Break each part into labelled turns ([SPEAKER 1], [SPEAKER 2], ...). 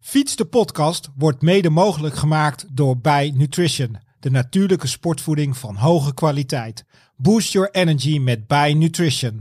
[SPEAKER 1] Fiets de podcast wordt mede mogelijk gemaakt door Bij Nutrition, de natuurlijke sportvoeding van hoge kwaliteit. Boost your energy met Bij Nutrition.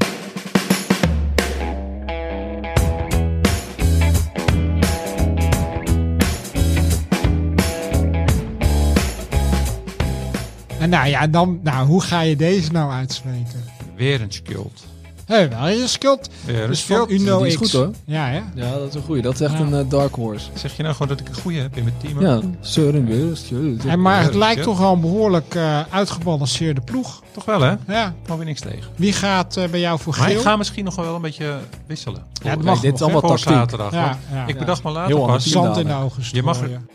[SPEAKER 1] En nou ja, dan, nou, hoe ga je deze nou uitspreken?
[SPEAKER 2] Weer een skilled.
[SPEAKER 1] Hé, wel je skilt.
[SPEAKER 2] Weer een
[SPEAKER 1] Dus van
[SPEAKER 2] skilled.
[SPEAKER 1] Uno
[SPEAKER 3] Die is
[SPEAKER 1] X.
[SPEAKER 3] goed, hoor.
[SPEAKER 1] Ja, hè?
[SPEAKER 3] Ja, dat is een goeie. Dat is echt
[SPEAKER 1] Ja.
[SPEAKER 3] een eh, dark horse.
[SPEAKER 2] Zeg je nou gewoon dat ik een goede heb in mijn team?
[SPEAKER 3] Ja, Søren Wils.
[SPEAKER 1] En maar het
[SPEAKER 2] Ja,
[SPEAKER 1] lijkt
[SPEAKER 2] ja.
[SPEAKER 1] toch al een behoorlijk eh, uitgebalanceerde ploeg.
[SPEAKER 2] Toch wel, hè?
[SPEAKER 1] Ja.
[SPEAKER 2] Daar weer niks tegen.
[SPEAKER 1] Wie gaat eh, bij jou voor
[SPEAKER 2] Maar ik
[SPEAKER 1] geel?
[SPEAKER 2] ga misschien nog wel een beetje wisselen.
[SPEAKER 1] Ja, het
[SPEAKER 3] Kijk,
[SPEAKER 1] mag
[SPEAKER 3] dit
[SPEAKER 1] nog,
[SPEAKER 3] is
[SPEAKER 1] hè,
[SPEAKER 3] allemaal
[SPEAKER 2] Voor
[SPEAKER 3] tactiek.
[SPEAKER 2] zaterdag.
[SPEAKER 1] Ja,
[SPEAKER 2] want
[SPEAKER 1] ja.
[SPEAKER 2] Ik
[SPEAKER 3] Ja.
[SPEAKER 2] bedacht maar later
[SPEAKER 3] Heel
[SPEAKER 2] pas.
[SPEAKER 3] anders.
[SPEAKER 1] Zand in de
[SPEAKER 3] Damen.
[SPEAKER 1] ogen
[SPEAKER 2] Je mag er-
[SPEAKER 1] strooien.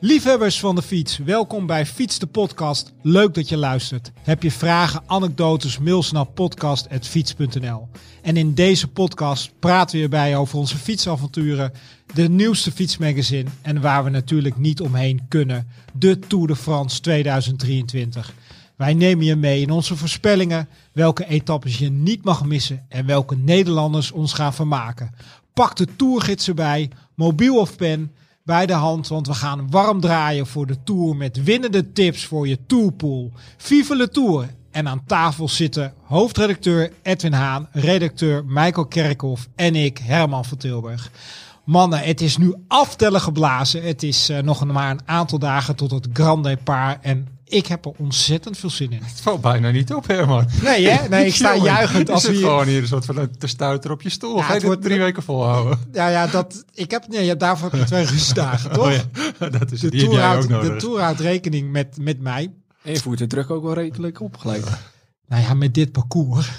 [SPEAKER 1] Liefhebbers van de fiets, welkom bij Fiets de Podcast. Leuk dat je luistert. Heb je vragen, anekdotes, mails naar podcast.fiets.nl. En in deze podcast praten we hierbij over onze fietsavonturen, de nieuwste fietsmagazine en waar we natuurlijk niet omheen kunnen, de Tour de France 2023. Wij nemen je mee in onze voorspellingen, welke etappes je niet mag missen en welke Nederlanders ons gaan vermaken. Pak de tourgids erbij, mobiel of pen, bij de hand, want we gaan warm draaien voor de Tour met winnende tips voor je Tourpool. Vive le Tour! En aan tafel zitten hoofdredacteur Edwin Haan, redacteur Michael Kerkhoff en ik, Herman van Tilburg. Mannen, het is nu aftellen geblazen. Het is eh, nog maar een aantal dagen tot het Grand Départ en ik heb er ontzettend veel zin in.
[SPEAKER 2] Het valt bijna niet op, Herman.
[SPEAKER 1] Nee, hè? Nee, ik sta
[SPEAKER 2] Jongen,
[SPEAKER 1] juichend
[SPEAKER 2] je
[SPEAKER 1] als we
[SPEAKER 2] zit
[SPEAKER 1] hier...
[SPEAKER 2] gewoon hier een soort van te stuiter op je stoel.
[SPEAKER 1] Ja,
[SPEAKER 2] Ga je
[SPEAKER 1] het
[SPEAKER 2] dit
[SPEAKER 1] wordt-
[SPEAKER 2] drie weken volhouden?
[SPEAKER 1] Ja, ja, dat, ik heb, nee, ja, daarvoor heb je twee rustdagen, toch? Dus
[SPEAKER 2] Oh ja, dat is
[SPEAKER 1] De
[SPEAKER 2] het. Die heb
[SPEAKER 1] Tour
[SPEAKER 2] jij ook
[SPEAKER 1] houdt- de
[SPEAKER 2] nodig.
[SPEAKER 1] tour houdt rekening met, met mij.
[SPEAKER 3] En je voert de druk ook wel redelijk op gelijk.
[SPEAKER 1] Nou ja, met dit parcours.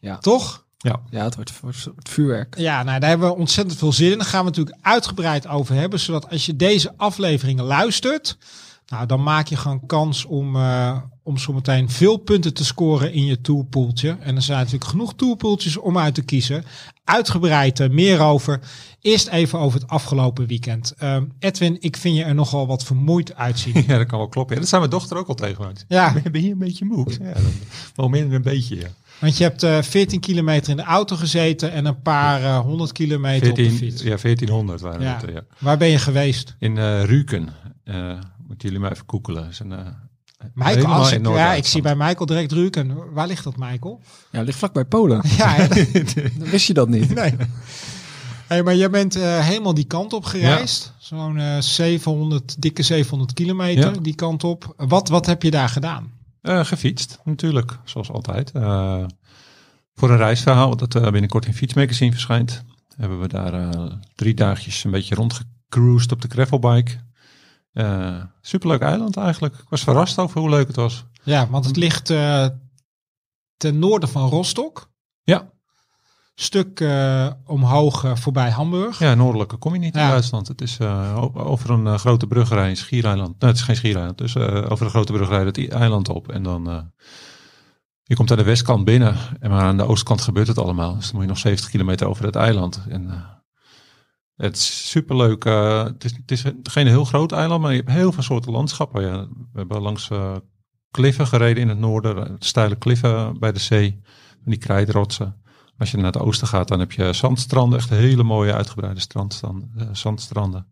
[SPEAKER 3] Ja.
[SPEAKER 1] Toch?
[SPEAKER 3] Ja, het wordt, wordt- wordt vuurwerk.
[SPEAKER 1] Ja, nou, daar hebben we ontzettend veel zin in. Daar gaan we natuurlijk uitgebreid over hebben. Zodat als je deze afleveringen luistert, nou, dan maak je gewoon kans om, eh om zometeen veel punten te scoren in je toolpoeltje. En er zijn natuurlijk genoeg toolpoeltjes om uit te kiezen. Uitgebreid eh, meer over. Eerst even over het afgelopen weekend. Ehm, Edwin, ik vind je er nogal wat vermoeid uitzien.
[SPEAKER 2] Ja, dat kan wel kloppen. Ja, dat zei mijn dochter ook al tegen mij.
[SPEAKER 1] ja,
[SPEAKER 2] Ben je een beetje moe? Ik zei, Ja, dan- wel minder een beetje, ja.
[SPEAKER 1] want je hebt eh 14 kilometer in de auto gezeten en een paar eh 100 kilometer op
[SPEAKER 2] 14,
[SPEAKER 1] de fiets.
[SPEAKER 2] ja, 1400 waren
[SPEAKER 1] Ja.
[SPEAKER 2] het, ja.
[SPEAKER 1] Waar ben je geweest?
[SPEAKER 2] In eh, Ruken. eh, moeten jullie mij even koekelen. Dat is een, eh,
[SPEAKER 1] Michael,
[SPEAKER 2] helemaal
[SPEAKER 1] als ik-
[SPEAKER 2] in
[SPEAKER 1] ja, ik
[SPEAKER 2] Noord-Duitsland.
[SPEAKER 1] zie bij Michael direct Ruken. Waar ligt dat, Michael?
[SPEAKER 3] Ja, het ligt vlakbij Polen.
[SPEAKER 1] Ja, hè?
[SPEAKER 3] Dan wist je dat niet.
[SPEAKER 1] nee. Hey, maar jij bent eh, helemaal die kant op gereisd. Zo'n eh, 700, dikke 700 kilometer
[SPEAKER 2] Ja.
[SPEAKER 1] die kant op. Wat, wat heb je daar gedaan?
[SPEAKER 2] Eh, gefietst, natuurlijk, zoals altijd. Eh, voor een reisverhaal dat eh, binnenkort in Fietsmagazine verschijnt, hebben we daar eh, drie dagjes een beetje rondgecruised op de gravelbike. Eh, superleuk eiland eigenlijk. Ik was verrast over hoe leuk het was.
[SPEAKER 1] Ja, want het
[SPEAKER 2] Mm.
[SPEAKER 1] ligt eh, ten noorden van Rostock.
[SPEAKER 2] Ja.
[SPEAKER 1] Stuk eh, omhoog eh, voorbij Hamburg.
[SPEAKER 2] Ja, noordelijker kom je niet
[SPEAKER 1] Ja.
[SPEAKER 2] in Duitsland. Het is eh, o- over een eh, grote brug rijden, Schiereiland. Nou, het is geen Schiereiland, dus eh, over een grote brug rijden het i- eiland op. En dan, eh, je komt aan de westkant binnen, en maar aan de oostkant gebeurt het allemaal. Dus dan moet je nog 70 kilometer over het eiland. En, eh, het is superleuk. eh, het, is, het is geen heel groot eiland, maar je hebt heel veel soorten landschappen. Ja. We hebben langs eh, kliffen gereden in het noorden, eh, steile kliffen bij de zee, van die krijtrotsen. Als je naar het oosten gaat, dan heb je zandstranden, echt hele mooie uitgebreide strandstranden, eh, zandstranden.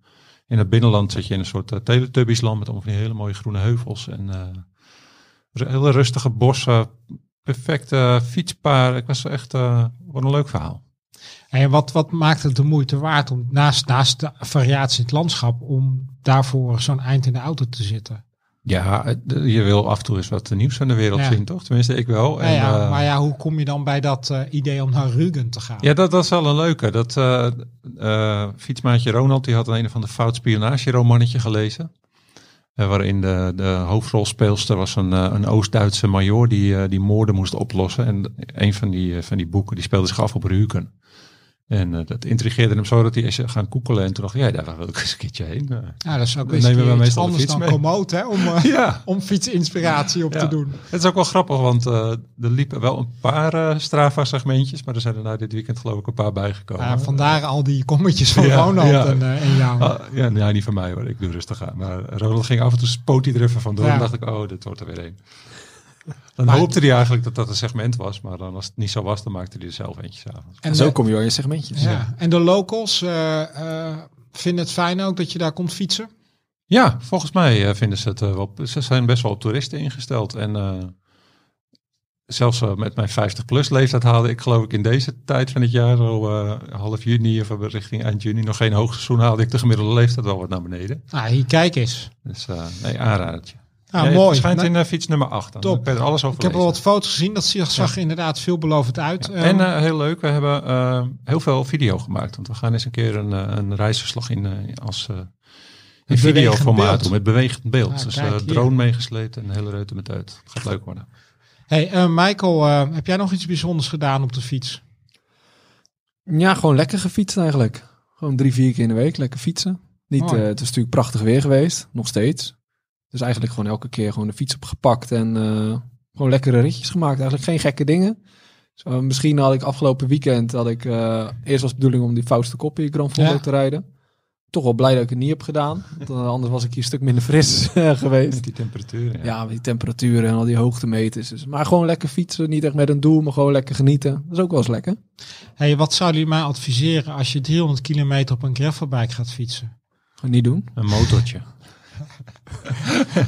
[SPEAKER 2] In het binnenland zit je in een soort eh, Teletubbiesland met allemaal van die hele mooie groene heuvels en eh, ru- hele rustige bossen, perfecte fietspaar. Ik was echt, eh, wat een leuk verhaal.
[SPEAKER 1] En wat, wat maakt het de moeite waard om naast, naast de variatie in het landschap, om daarvoor zo'n eind in de auto te zitten?
[SPEAKER 2] Ja, eh, je wil af en toe eens wat nieuws van de wereld
[SPEAKER 1] Ja.
[SPEAKER 2] zien, toch? Tenminste, ik wel.
[SPEAKER 1] Nou
[SPEAKER 2] En,
[SPEAKER 1] ja,
[SPEAKER 2] eh,
[SPEAKER 1] maar ja, hoe kom je dan bij dat eh, idee om naar Rugen te gaan?
[SPEAKER 2] Ja, dat was wel een leuke. Dat eh, eh, fietsmaatje Ronald die had een van de fout spionageromannetje gelezen. Eh, waarin de, de hoofdrolspeelster was een, eh, een Oost-Duitse major die, eh, die moorden moest oplossen. En een van die, eh, van die boeken die speelde zich af op Ruken. En eh, dat intrigeerde hem zo dat hij is gaan koekelen. En toen dacht ik, ja, daar wil ik eens een keertje heen. Eh,
[SPEAKER 1] Ja, dat is ook
[SPEAKER 2] Dan
[SPEAKER 1] best
[SPEAKER 2] nemen we
[SPEAKER 1] weer iets
[SPEAKER 2] meestal de
[SPEAKER 1] anders
[SPEAKER 2] fiets
[SPEAKER 1] dan
[SPEAKER 2] mee.
[SPEAKER 1] Komoot, hè, om, eh,
[SPEAKER 2] ja,
[SPEAKER 1] om fietsinspiratie op te
[SPEAKER 2] Ja.
[SPEAKER 1] doen.
[SPEAKER 2] het is ook wel grappig, want eh, er liepen wel een paar eh, Strava-segmentjes. Maar er zijn er nou dit weekend geloof ik een paar bijgekomen.
[SPEAKER 1] Ja, vandaar al die kommetjes van
[SPEAKER 2] Ja,
[SPEAKER 1] Ronald
[SPEAKER 2] ja.
[SPEAKER 1] En, eh, en jou.
[SPEAKER 2] Ah, ja, nee, niet van mij hoor. Ik doe rustig aan. Maar Ronald ging af en toe spoot hij er even vandoor.
[SPEAKER 1] Ja.
[SPEAKER 2] En dacht ik, oh, dit wordt er weer een. Dan
[SPEAKER 1] Maar-
[SPEAKER 2] hoopte hij eigenlijk dat dat een segment was. Maar dan als het niet zo was, dan maakte hij er zelf eentje avonds.
[SPEAKER 1] en,
[SPEAKER 3] Zo
[SPEAKER 1] de,
[SPEAKER 3] kom je wel in segmentjes.
[SPEAKER 1] ja. en de locals eh, eh, vinden het fijn ook dat je daar komt fietsen.
[SPEAKER 2] Ja, volgens mij eh, vinden ze het eh, wel... Ze zijn best wel op toeristen ingesteld. En eh, zelfs eh, met mijn 50-plus leeftijd haalde ik geloof ik in deze tijd van het jaar... Zo, eh, half juni of richting eind juni, nog geen hoogseizoen... haalde ik de gemiddelde leeftijd wel wat naar beneden.
[SPEAKER 1] Nou, hier kijk eens.
[SPEAKER 2] Dus eh, nee, aanradertje.
[SPEAKER 1] Nou,
[SPEAKER 2] Ja, het
[SPEAKER 1] mooi.
[SPEAKER 2] Schijnt
[SPEAKER 1] Nou,
[SPEAKER 2] in eh, fiets nummer 8. Dan
[SPEAKER 1] Top.
[SPEAKER 2] Ik ben er alles over
[SPEAKER 1] ik heb al
[SPEAKER 2] gelezen.
[SPEAKER 1] wat foto's gezien. Dat zag, zag er inderdaad veelbelovend uit.
[SPEAKER 2] Ja, en eh, heel leuk, we hebben eh, heel veel video gemaakt. Want we gaan eens een keer een, eh, een reisverslag in, eh, als, eh in
[SPEAKER 1] Met bewegend beeld.
[SPEAKER 2] videoformaat doen. Met bewegend beeld.
[SPEAKER 1] Ah,
[SPEAKER 2] dus
[SPEAKER 1] kijk,
[SPEAKER 2] eh,
[SPEAKER 1] hier.
[SPEAKER 2] drone meegesleept en de hele reuter met uit. Gaat leuk worden.
[SPEAKER 1] hey, eh, Michael, eh, heb jij nog iets bijzonders gedaan op de fiets?
[SPEAKER 3] Ja, gewoon lekker gefietst eigenlijk. Gewoon drie, vier keer in de week lekker fietsen. Niet,
[SPEAKER 1] Mooi.
[SPEAKER 3] eh, het is natuurlijk prachtig weer geweest, nog steeds. Dus eigenlijk gewoon elke keer gewoon de fiets opgepakt en eh, gewoon lekkere ritjes gemaakt. Eigenlijk geen gekke dingen. Dus, eh, misschien had ik afgelopen weekend, had ik, eh, eerst was de bedoeling om die Fauste Koppie Grand Fondo
[SPEAKER 1] Ja.
[SPEAKER 3] te rijden. Toch wel blij dat ik het niet heb gedaan. Want eh, anders was ik hier een stuk minder fris eh, geweest.
[SPEAKER 2] Met die temperaturen. Ja.
[SPEAKER 3] Ja, met die temperaturen en al die hoogtemeters. Dus, maar gewoon lekker fietsen, niet echt met een doel, maar gewoon lekker genieten. Dat is ook wel eens lekker.
[SPEAKER 1] Hey, wat zouden jullie mij adviseren als je 300 kilometer op een gravelbike gaat fietsen?
[SPEAKER 3] Gewoon niet doen.
[SPEAKER 2] Een motortje.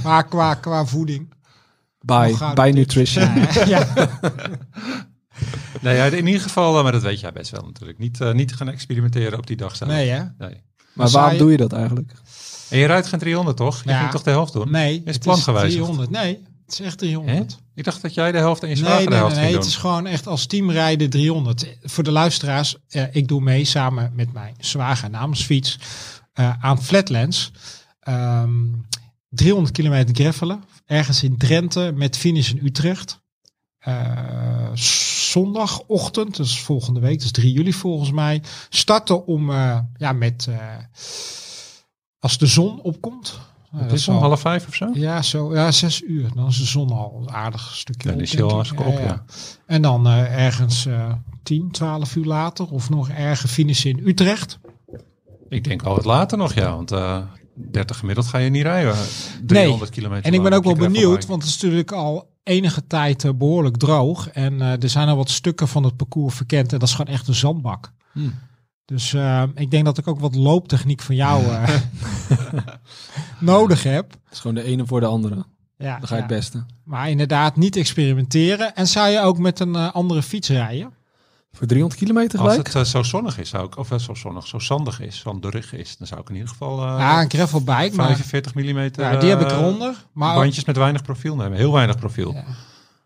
[SPEAKER 1] Maar qua, qua voeding.
[SPEAKER 3] Bij,
[SPEAKER 1] Nog gouden
[SPEAKER 3] bij
[SPEAKER 1] tips.
[SPEAKER 3] nutrition.
[SPEAKER 1] ja.
[SPEAKER 2] nee, ja, in ieder geval, eh, maar dat weet jij best wel natuurlijk. Niet, eh, niet gaan experimenteren op die dag zelf.
[SPEAKER 1] Nee, hè?
[SPEAKER 2] Nee.
[SPEAKER 1] zou
[SPEAKER 3] Maar
[SPEAKER 1] je-
[SPEAKER 3] waarom doe je dat eigenlijk?
[SPEAKER 2] En je rijdt geen 300 toch? Je
[SPEAKER 1] Ja.
[SPEAKER 2] ging toch de helft doen?
[SPEAKER 1] Nee,
[SPEAKER 2] Is
[SPEAKER 1] het is
[SPEAKER 2] plangewijzigd.
[SPEAKER 1] 300. Nee, het is echt 300.
[SPEAKER 2] Ik dacht dat jij de helft en je zwager
[SPEAKER 1] Nee,
[SPEAKER 2] de
[SPEAKER 1] nee, nee,
[SPEAKER 2] helft
[SPEAKER 1] nee,
[SPEAKER 2] ging
[SPEAKER 1] het
[SPEAKER 2] doen.
[SPEAKER 1] is gewoon echt als team rijden 300. Voor de luisteraars, eh, ik doe mee samen met mijn zwager namens fiets eh, aan Flatlands. Ehm, 300 kilometer gravelen, ergens in Drenthe met finish in Utrecht. Eh, zondagochtend, dus volgende week, dus 3 juli volgens mij. Starten om, eh, ja, met, eh, als de zon opkomt. Eh,
[SPEAKER 2] Het
[SPEAKER 1] dat
[SPEAKER 2] is om
[SPEAKER 1] zal-
[SPEAKER 2] half vijf of zo?
[SPEAKER 1] ja, zo, ja, zes uur. Dan is de zon al een aardig stukje
[SPEAKER 2] Ja, die
[SPEAKER 1] op,
[SPEAKER 2] is heel
[SPEAKER 1] denk ik.
[SPEAKER 2] hartstikke op, ja.
[SPEAKER 1] En dan eh, ergens eh 10, 12 uur later of nog erger finishen in Utrecht.
[SPEAKER 2] Ik denk wel wat later nog, ja. Want eh 30 gemiddeld ga je niet rijden. 300 kilometer.
[SPEAKER 1] En ik ben
[SPEAKER 2] lang
[SPEAKER 1] ook wel
[SPEAKER 2] op je
[SPEAKER 1] benieuwd,
[SPEAKER 2] gravelbike.
[SPEAKER 1] want het is natuurlijk al enige tijd eh, behoorlijk droog. En eh, er zijn al wat stukken van het parcours verkend en dat is gewoon echt een zandbak.
[SPEAKER 3] Hmm.
[SPEAKER 1] Dus eh, ik denk dat ik ook wat looptechniek van jou eh, nodig heb.
[SPEAKER 3] Het is gewoon de ene voor de andere.
[SPEAKER 1] Ja,
[SPEAKER 3] Dan ga je
[SPEAKER 1] ja.
[SPEAKER 3] het beste.
[SPEAKER 1] Maar inderdaad, niet experimenteren. En zou je ook met een eh, andere fiets rijden?
[SPEAKER 3] Voor 300 kilometer
[SPEAKER 2] Als
[SPEAKER 3] gelijk?
[SPEAKER 2] het eh, zo zonnig is, zou ik, of eh, zo zonnig, zo zandig is, zanderig is, dan zou ik in ieder geval eh,
[SPEAKER 1] Ja, een gravelbike, maar
[SPEAKER 2] 45 mm
[SPEAKER 1] ja, die heb ik eronder. Maar
[SPEAKER 2] bandjes met weinig profiel nemen. Heel weinig profiel.
[SPEAKER 1] Ja.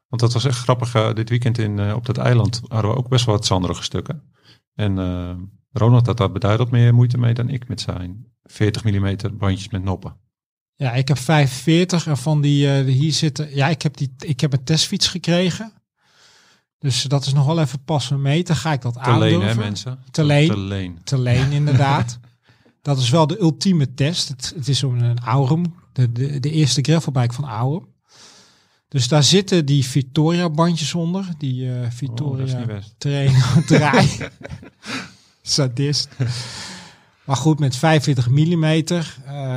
[SPEAKER 2] Want dat was echt grappig. eh, dit weekend in, eh, op dat eiland hadden we ook best wel wat zanderige stukken. En eh, Ronald had daar beduidend meer moeite mee dan ik met zijn 40 mm bandjes met noppen.
[SPEAKER 1] ja, ik heb 45 en van die eh, die hier zitten. Ja, ik heb, die, ik heb een testfiets gekregen. Dus dat is nog wel even passen meten. Ga ik dat
[SPEAKER 2] Te
[SPEAKER 1] aandurven?
[SPEAKER 2] leen, hè mensen?
[SPEAKER 1] Te leen.
[SPEAKER 2] Te leen.
[SPEAKER 1] Te leen, inderdaad. dat is wel de ultieme test. Het, het is om een Aurum, de, de, de eerste gravelbike van Aurum. Dus daar zitten die Victoria bandjes onder. Die eh,
[SPEAKER 2] Oh, dat is
[SPEAKER 1] Victoria
[SPEAKER 2] niet best.
[SPEAKER 1] trainen, draai. Sadist. Maar goed, met 45 mm.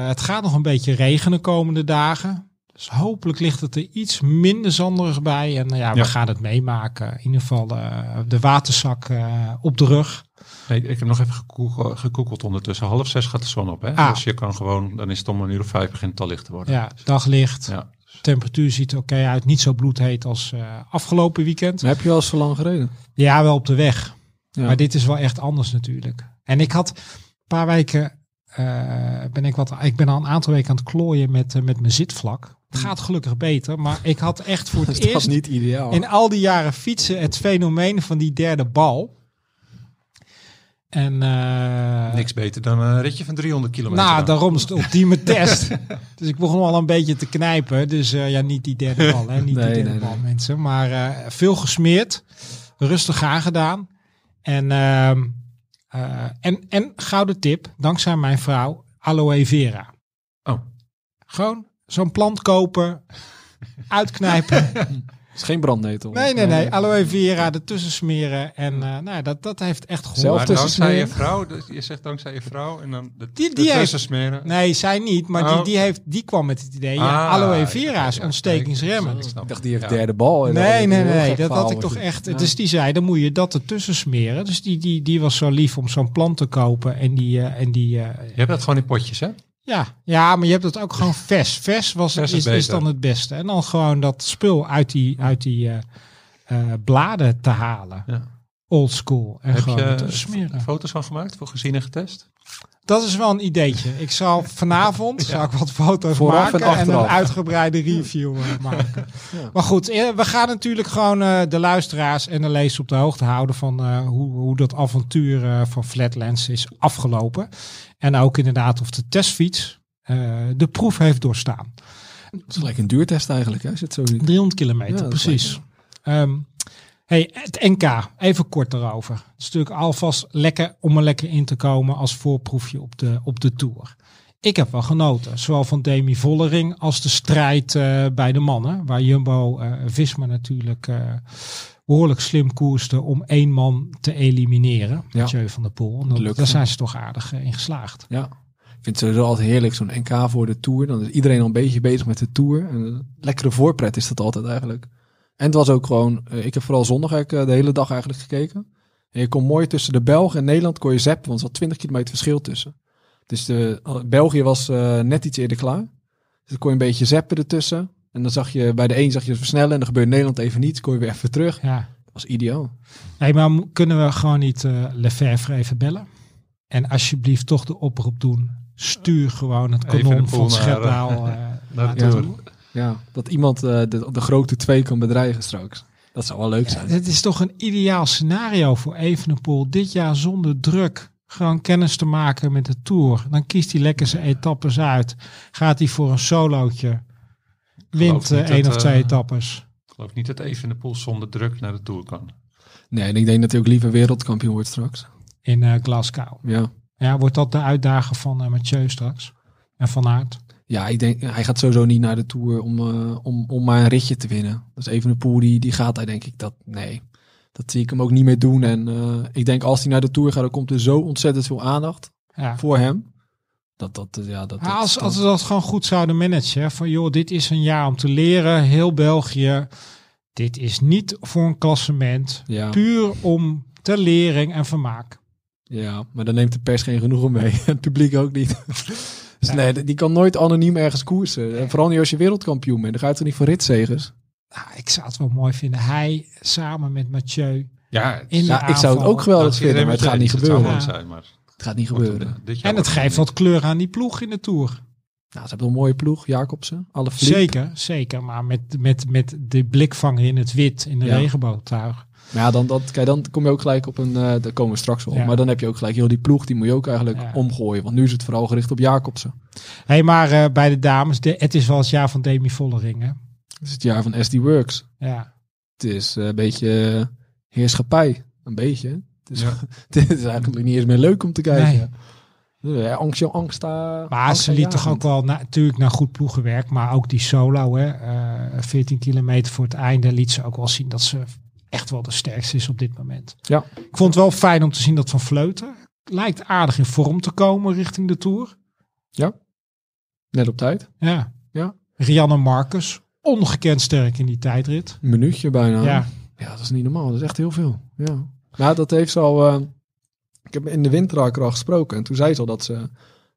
[SPEAKER 1] het gaat nog een beetje regenen komende dagen. Dus hopelijk ligt het er iets minder zanderig bij. En nou ja, we
[SPEAKER 2] Ja.
[SPEAKER 1] gaan het meemaken. In ieder geval eh, de waterzak eh, op de rug.
[SPEAKER 2] Nee, ik heb nog even gekoegel- gekoekeld ondertussen. Half zes gaat de zon op, hè?
[SPEAKER 1] Ah.
[SPEAKER 2] Dus je kan gewoon, dan is het om een uur of vijf begint het al licht te worden.
[SPEAKER 1] Ja, daglicht.
[SPEAKER 2] Ja.
[SPEAKER 1] Temperatuur ziet er oké uit. Niet zo bloedheet als eh, afgelopen weekend.
[SPEAKER 3] Maar heb je wel eens zo lang gereden?
[SPEAKER 1] Ja, wel op de weg.
[SPEAKER 3] Ja.
[SPEAKER 1] Maar dit is wel echt anders natuurlijk. En ik had een paar weken. eh, ben ik, wat, ik ben al een aantal weken aan het klooien met, eh, met mijn zitvlak. Het gaat gelukkig beter, maar ik had echt voor
[SPEAKER 3] is
[SPEAKER 1] het
[SPEAKER 3] dat
[SPEAKER 1] eerst
[SPEAKER 3] niet ideaal?
[SPEAKER 1] in al die jaren fietsen het fenomeen van die derde bal. En eh,
[SPEAKER 2] Niks beter dan een ritje van 300 kilometer.
[SPEAKER 1] nou,
[SPEAKER 2] dan.
[SPEAKER 1] daarom is het ultieme test. Dus ik begon al een beetje te knijpen. Dus eh, ja, niet die derde bal, hè. Niet
[SPEAKER 3] Nee,
[SPEAKER 1] die derde
[SPEAKER 3] nee,
[SPEAKER 1] bal,
[SPEAKER 3] nee.
[SPEAKER 1] mensen. Maar eh, veel gesmeerd. Rustig aangedaan. En ehm, Eh, en, en gouden tip, dankzij mijn vrouw, aloe vera.
[SPEAKER 2] Oh.
[SPEAKER 1] Gewoon zo'n plant kopen, uitknijpen.
[SPEAKER 3] Het is geen brandnetel.
[SPEAKER 1] Nee, nee, nee. Aloe vera ertussen smeren. En eh, nou, ja, dat, dat heeft echt geholpen.
[SPEAKER 3] Zelf
[SPEAKER 2] Maar
[SPEAKER 3] tussen
[SPEAKER 2] dankzij je
[SPEAKER 3] smeren.
[SPEAKER 2] vrouw, dus je zegt dankzij je vrouw en dan de,
[SPEAKER 1] Die-
[SPEAKER 2] die,
[SPEAKER 1] die heeft-
[SPEAKER 2] smeren.
[SPEAKER 1] Nee, zij niet. Maar die,
[SPEAKER 2] Oh.
[SPEAKER 1] die, heeft, die kwam met het idee. Ja,
[SPEAKER 2] Ah,
[SPEAKER 1] aloe vera is
[SPEAKER 2] ja,
[SPEAKER 1] ontstekingsremmend.
[SPEAKER 2] kijk, ik snap
[SPEAKER 3] Ik
[SPEAKER 2] het.
[SPEAKER 3] dacht, die heeft
[SPEAKER 2] Ja.
[SPEAKER 3] derde bal. en dan had
[SPEAKER 1] Nee,
[SPEAKER 3] ik
[SPEAKER 1] nee,
[SPEAKER 3] een heel
[SPEAKER 1] nee.
[SPEAKER 3] gek
[SPEAKER 1] Dat
[SPEAKER 3] verhaal
[SPEAKER 1] had ik toch
[SPEAKER 3] natuurlijk.
[SPEAKER 1] echt.
[SPEAKER 3] Ja.
[SPEAKER 1] Dus die zei, dan moet je dat ertussen smeren. Dus die, die, die was zo lief om zo'n plant te kopen. En die, eh, en die eh,
[SPEAKER 2] Je hebt dat gewoon in potjes, hè?
[SPEAKER 1] ja. ja, maar je hebt dat ook gewoon vers. Vers, was,
[SPEAKER 2] Vers is
[SPEAKER 1] is, is
[SPEAKER 2] beter.
[SPEAKER 1] dan het beste. En dan gewoon dat spul uit die, uit die eh, eh, bladen te halen.
[SPEAKER 2] Ja.
[SPEAKER 1] Old school. En
[SPEAKER 2] Heb
[SPEAKER 1] gewoon
[SPEAKER 2] je
[SPEAKER 1] ertussen smeren.
[SPEAKER 2] eh, foto's van gemaakt voor gezien en getest?
[SPEAKER 1] Dat is wel een ideetje. Ik zal vanavond zal ik wat foto's
[SPEAKER 3] Vooraf en
[SPEAKER 1] maken en, een
[SPEAKER 3] achteraf.
[SPEAKER 1] uitgebreide review eh, maken. Maar goed, eh, we gaan natuurlijk gewoon eh, de luisteraars en de lezers op de hoogte houden van eh, hoe, hoe dat avontuur eh, van Flatlands is afgelopen. En ook inderdaad of de testfiets eh, de proef heeft doorstaan.
[SPEAKER 3] Het is gelijk een duurtest eigenlijk, hè? Als je het zo ziet.
[SPEAKER 1] 300 kilometer,
[SPEAKER 3] Ja, dat
[SPEAKER 1] precies.
[SPEAKER 3] lijkt
[SPEAKER 1] Ehm, hey, het NK, even kort daarover. Het is natuurlijk alvast lekker om er lekker in te komen als voorproefje op de, op de Tour. Ik heb wel genoten, zowel van Demi Vollering als de strijd eh, bij de mannen. Waar Jumbo-Visma natuurlijk eh, behoorlijk slim koerste om één man te elimineren.
[SPEAKER 3] Ja.
[SPEAKER 1] Mathieu van der Poel. En dat-
[SPEAKER 3] Lukte.
[SPEAKER 1] daar zijn ze toch aardig eh, in geslaagd.
[SPEAKER 3] Ja. Ik vind het sowieso altijd heerlijk, zo'n NK voor de Tour. Dan is iedereen al een beetje bezig met de Tour. En een lekkere voorpret is dat altijd eigenlijk. En het was ook gewoon... eh, ik heb vooral zondag eigenlijk, eh, de hele dag eigenlijk gekeken. En je kon mooi tussen de Belgen en Nederland kon je zappen. Want er zat 20 kilometer verschil tussen. Dus de, België was eh, net iets eerder klaar. Dus dan kon je een beetje zappen ertussen. En dan zag je bij de een zag je het versnellen. En dan gebeurde Nederland even niets. Kon je weer even terug.
[SPEAKER 1] Ja.
[SPEAKER 3] Dat was ideaal.
[SPEAKER 1] Hey, maar mo- kunnen we gewoon niet eh Lefevre even bellen? En alsjeblieft toch de oproep doen. Stuur gewoon het
[SPEAKER 2] Even
[SPEAKER 1] kanon
[SPEAKER 2] de poel
[SPEAKER 1] van
[SPEAKER 2] naar, eh,
[SPEAKER 1] Schepdaal. eh, naar
[SPEAKER 2] de
[SPEAKER 1] de
[SPEAKER 2] Tour.
[SPEAKER 1] Tour.
[SPEAKER 3] Ja, dat iemand eh, de, de grote twee kan bedreigen straks. Dat zou wel leuk zijn.
[SPEAKER 1] Het is toch een ideaal scenario voor Evenepoel. Dit jaar zonder druk. Gewoon kennis te maken met de Tour. Dan kiest hij lekker zijn etappes uit. Gaat hij voor een solootje. Wint
[SPEAKER 2] Geloof niet
[SPEAKER 1] eh, één
[SPEAKER 2] dat,
[SPEAKER 1] of twee
[SPEAKER 2] eh,
[SPEAKER 1] etappes.
[SPEAKER 2] Ik geloof niet dat even de poel zonder druk naar de Tour kan.
[SPEAKER 3] Nee, en ik denk dat hij ook liever wereldkampioen wordt straks.
[SPEAKER 1] In eh, Glasgow.
[SPEAKER 3] Ja.
[SPEAKER 1] Ja, wordt dat de uitdaging van eh, Mathieu straks? En Van Aert?
[SPEAKER 3] Ja, ik denk, hij gaat sowieso niet naar de Tour om, eh, om, om maar een ritje te winnen. Dus even een poel, die, die gaat hij denk ik dat, nee. Dat zie ik hem ook niet meer doen. En eh, ik denk als hij naar de Tour gaat, dan komt er zo ontzettend veel aandacht
[SPEAKER 1] Ja.
[SPEAKER 3] voor hem. Dat, dat, eh, ja, dat,
[SPEAKER 1] Ja,
[SPEAKER 3] dat-
[SPEAKER 1] als,
[SPEAKER 3] dat-
[SPEAKER 1] als we dat gewoon goed zouden managen. hè, Van joh, dit is een jaar om te leren. Heel België. Dit is niet voor een klassement.
[SPEAKER 3] ja,
[SPEAKER 1] Puur om ter lering en vermaak.
[SPEAKER 3] ja, maar dan neemt de pers geen genoegen mee. het publiek ook niet. dus nee, die die kan nooit anoniem ergens koersen. En vooral niet als je wereldkampioen bent. Dan ga je toch niet voor ritzegers?
[SPEAKER 1] Nou, ik zou het wel mooi vinden. Hij samen met Mathieu.
[SPEAKER 2] Ja, het
[SPEAKER 1] In-
[SPEAKER 2] zou-
[SPEAKER 3] Ja, ik zou het
[SPEAKER 1] aanval.
[SPEAKER 3] ook geweldig
[SPEAKER 2] dat
[SPEAKER 3] vinden, maar het gaat niet gebeuren.
[SPEAKER 2] zou mooi
[SPEAKER 1] Ja.
[SPEAKER 2] zijn, maar het
[SPEAKER 3] Het gaat niet
[SPEAKER 2] wordt
[SPEAKER 3] gebeuren.
[SPEAKER 2] hem, eh, dit jaar
[SPEAKER 1] En het
[SPEAKER 2] wordt
[SPEAKER 1] geeft
[SPEAKER 2] hem
[SPEAKER 1] wat kleur aan die ploeg in de Tour.
[SPEAKER 3] Nou, ze hebben een mooie ploeg, Jacobsen. Alle vlieg.
[SPEAKER 1] Zeker, zeker. Maar met, met, met de blikvanger in het wit in de
[SPEAKER 3] Ja.
[SPEAKER 1] regenboogtuig.
[SPEAKER 3] Maar ja, dan, dat, kijk, dan kom je ook gelijk op een... eh, daar komen we straks op.
[SPEAKER 1] Ja.
[SPEAKER 3] Maar dan heb je ook gelijk heel die ploeg. Die moet je ook eigenlijk
[SPEAKER 1] Ja.
[SPEAKER 3] omgooien. Want nu is het vooral gericht op Jacobsen.
[SPEAKER 1] hey, maar eh, bij de dames. De, het is wel het jaar van Demi Vollering. Hè?
[SPEAKER 3] Het is het jaar van SD Works.
[SPEAKER 1] Ja.
[SPEAKER 3] Het is eh, een beetje eh, heerschappij. Een beetje. Het is,
[SPEAKER 2] Ja.
[SPEAKER 3] het is eigenlijk niet eens meer leuk om te
[SPEAKER 1] Nee.
[SPEAKER 3] kijken. Ja, angst, joh, angst. ah,
[SPEAKER 1] Maar
[SPEAKER 3] angst
[SPEAKER 1] ze
[SPEAKER 3] aan
[SPEAKER 1] liet toch
[SPEAKER 3] jagend.
[SPEAKER 1] ook wel na- natuurlijk naar goed ploegenwerk. Maar ook die solo, hè, eh, 14 kilometer voor het einde, liet ze ook wel zien dat ze echt wel de sterkste is op dit moment.
[SPEAKER 3] Ja.
[SPEAKER 1] Ik vond het wel fijn om te zien dat Van Vleuten lijkt aardig in vorm te komen richting de Tour.
[SPEAKER 3] Net op tijd.
[SPEAKER 1] Ja.
[SPEAKER 3] Ja.
[SPEAKER 1] Rianne Marcus, ongekend sterk in die tijdrit.
[SPEAKER 3] Een minuutje bijna.
[SPEAKER 1] Ja.
[SPEAKER 3] Ja, dat is niet normaal. Dat is echt heel veel. Ja. Nou, dat heeft ze al. eh, ik heb in de winter had ik er al gesproken. En toen zei ze al dat ze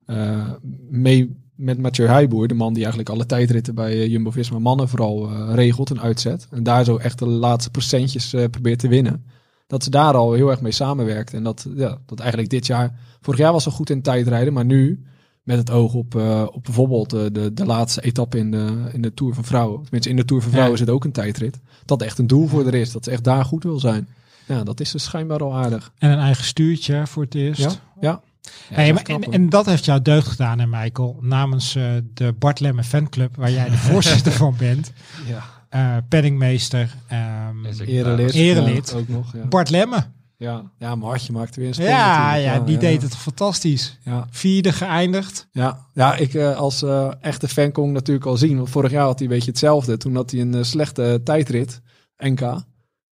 [SPEAKER 3] eh, mee met Mathieu Heijboer, de man die eigenlijk alle tijdritten bij eh, Jumbo-Visma mannen vooral eh, regelt en uitzet. En daar zo echt de laatste procentjes eh, probeert te winnen. Dat ze daar al heel erg mee samenwerkt. En dat, ja, dat eigenlijk dit jaar. Vorig jaar was ze goed in tijdrijden, maar nu. Met het oog op, eh, op bijvoorbeeld eh, de, de laatste etappe in de, in de Tour van Vrouwen. Tenminste, in de Tour van Vrouwen zit ook een tijdrit. Dat echt een doel voor haar is. Dat ze echt daar goed wil zijn. Ja, dat is dus schijnbaar al aardig.
[SPEAKER 1] En een eigen stuurtje voor het eerst.
[SPEAKER 3] Ja, ja.
[SPEAKER 1] Hey,
[SPEAKER 3] Ja,
[SPEAKER 1] maar
[SPEAKER 3] knap,
[SPEAKER 1] en,
[SPEAKER 3] hoor.
[SPEAKER 1] en dat heeft jou deugd gedaan, hè, Michael, namens eh, de Bart Lemmen fanclub, waar jij de voorzitter van bent.
[SPEAKER 3] Ja.
[SPEAKER 1] Eh penningmeester. ehm,
[SPEAKER 2] Yes, ik-
[SPEAKER 3] Erelid.
[SPEAKER 1] Erelid.
[SPEAKER 3] eh, Ja, ook nog, ja.
[SPEAKER 1] Bart Lemmen.
[SPEAKER 3] Ja, ja Martje maakte weer een sprong
[SPEAKER 1] Ja,
[SPEAKER 3] natuurlijk. Oh,
[SPEAKER 1] ja, die
[SPEAKER 3] ja.
[SPEAKER 1] deed het fantastisch.
[SPEAKER 3] Ja,
[SPEAKER 1] Vierde geëindigd.
[SPEAKER 3] ja, ja ik eh, als eh, echte fan kon ik natuurlijk al zien. Want vorig jaar had hij een beetje hetzelfde. Toen had hij een eh, slechte tijdrit, NK.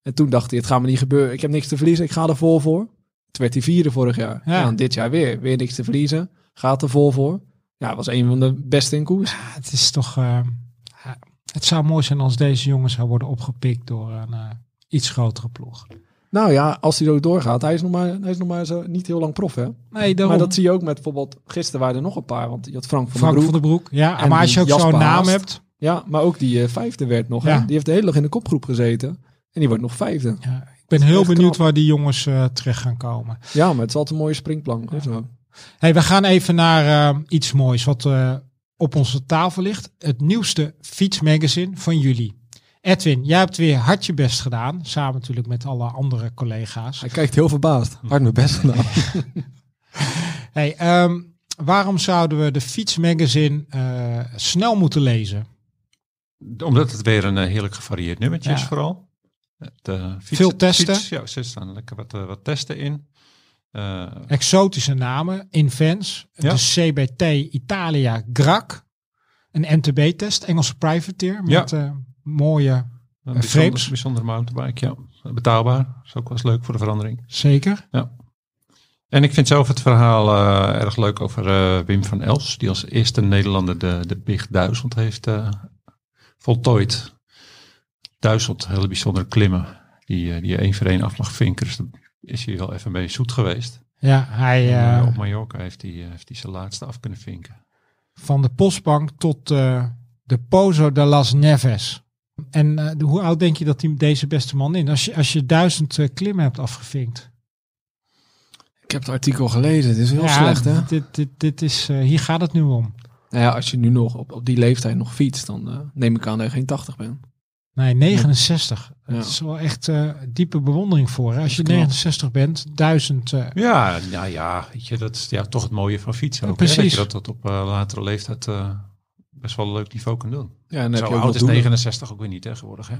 [SPEAKER 3] En toen dacht hij, het gaat me niet gebeuren. Ik heb niks te verliezen, ik ga er vol voor. Toen werd hij vierde vorig jaar.
[SPEAKER 1] Ja.
[SPEAKER 3] Ja. en dit jaar weer. Weer niks te verliezen. Gaat er vol voor. Ja, was een van de beste in koers.
[SPEAKER 1] Ja, het is toch. eh, ja, het zou mooi zijn als deze jongen zou worden opgepikt door een eh, iets grotere ploeg.
[SPEAKER 3] Nou ja, als hij zo doorgaat. Hij is nog maar, hij is nog maar zo, niet heel lang prof, hè?
[SPEAKER 1] Nee, daarom.
[SPEAKER 3] Maar dat zie je ook met bijvoorbeeld... Gisteren waren er nog een paar. Want je had Frank van
[SPEAKER 1] Frank
[SPEAKER 3] der Broek.
[SPEAKER 1] van den Broek. Ja,
[SPEAKER 3] En
[SPEAKER 1] maar als je ook
[SPEAKER 3] Jasper
[SPEAKER 1] zo'n naam
[SPEAKER 3] Haast.
[SPEAKER 1] hebt.
[SPEAKER 3] Ja, maar ook die eh, vijfde werd nog. hè?
[SPEAKER 1] Ja.
[SPEAKER 3] Die heeft de hele dag in de kopgroep gezeten. En die wordt nog vijfde.
[SPEAKER 1] Ja, ik ben heel
[SPEAKER 3] Echt
[SPEAKER 1] benieuwd
[SPEAKER 3] knap.
[SPEAKER 1] waar die jongens eh, terecht gaan komen.
[SPEAKER 3] Ja, maar het is altijd een mooie springplank. Of nou?
[SPEAKER 1] Hey, we gaan even naar eh, iets moois wat eh, op onze tafel ligt. Het nieuwste fietsmagazine van jullie. Edwin, jij hebt weer hard je best gedaan. Samen natuurlijk met alle andere collega's.
[SPEAKER 3] Hij kijkt heel verbaasd. Hard mijn best gedaan.
[SPEAKER 1] Hey, ehm, waarom zouden we de fietsmagazine eh, snel moeten lezen?
[SPEAKER 2] Omdat het weer een eh, heerlijk gevarieerd nummertje is
[SPEAKER 1] Ja.
[SPEAKER 2] vooral. Het, eh, fiets-
[SPEAKER 1] Veel testen.
[SPEAKER 2] Fiets, ja, er staan lekker wat, eh, wat testen in. Eh,
[SPEAKER 1] Exotische namen, Invens,
[SPEAKER 2] Ja.
[SPEAKER 1] de CBT Italia Grac, een MTB-test, Engelse privateer
[SPEAKER 2] Ja.
[SPEAKER 1] met eh, mooie,
[SPEAKER 2] een
[SPEAKER 1] Eh,
[SPEAKER 2] bijzonder,
[SPEAKER 1] frames.
[SPEAKER 2] bijzonder mountainbike, ja. Betaalbaar. Is ook wel eens leuk voor de verandering.
[SPEAKER 1] zeker.
[SPEAKER 2] En ik vind zelf het verhaal eh, erg leuk over eh, Wim van Els, die als eerste Nederlander de, de Big 1000 heeft eh, voltooid. 1000 hele bijzondere klimmen, die, eh, die je één voor één af mag vinken. Dus daar is hij wel even mee zoet geweest.
[SPEAKER 1] Ja, hij
[SPEAKER 2] En, eh,
[SPEAKER 1] eh,
[SPEAKER 2] op Mallorca heeft hij, eh, heeft hij zijn laatste af kunnen vinken.
[SPEAKER 1] van de postbank tot eh, de Pozo de las Neves. En eh, de- hoe oud denk je dat die, deze beste man in? Als je, als je duizend eh, klimmen hebt afgevinkt.
[SPEAKER 3] Ik heb het artikel gelezen. Het is heel slecht, hè?
[SPEAKER 1] Dit, dit, dit is, eh, hier gaat het nu om.
[SPEAKER 3] Nou ja, als je nu nog op, op die leeftijd nog fietst, dan eh, neem ik aan dat je geen 80 bent.
[SPEAKER 1] Nee, 69.
[SPEAKER 3] Ja.
[SPEAKER 1] Dat is wel echt eh, diepe bewondering voor. Hè? Als je
[SPEAKER 3] Dat is knap.
[SPEAKER 1] 69 bent, 1000. eh,
[SPEAKER 2] Ja, nou ja, weet je, dat is ja, toch het mooie van fietsen.
[SPEAKER 1] Ja,
[SPEAKER 2] ook, hè,
[SPEAKER 1] precies.
[SPEAKER 2] Dat je dat, dat op eh, latere leeftijd eh, best wel een leuk niveau kan doen.
[SPEAKER 3] Ja, en dan
[SPEAKER 2] Zo
[SPEAKER 3] heb je ook
[SPEAKER 2] oud
[SPEAKER 3] nog
[SPEAKER 2] is
[SPEAKER 3] doelen.
[SPEAKER 2] 69 ook weer niet tegenwoordig, hè?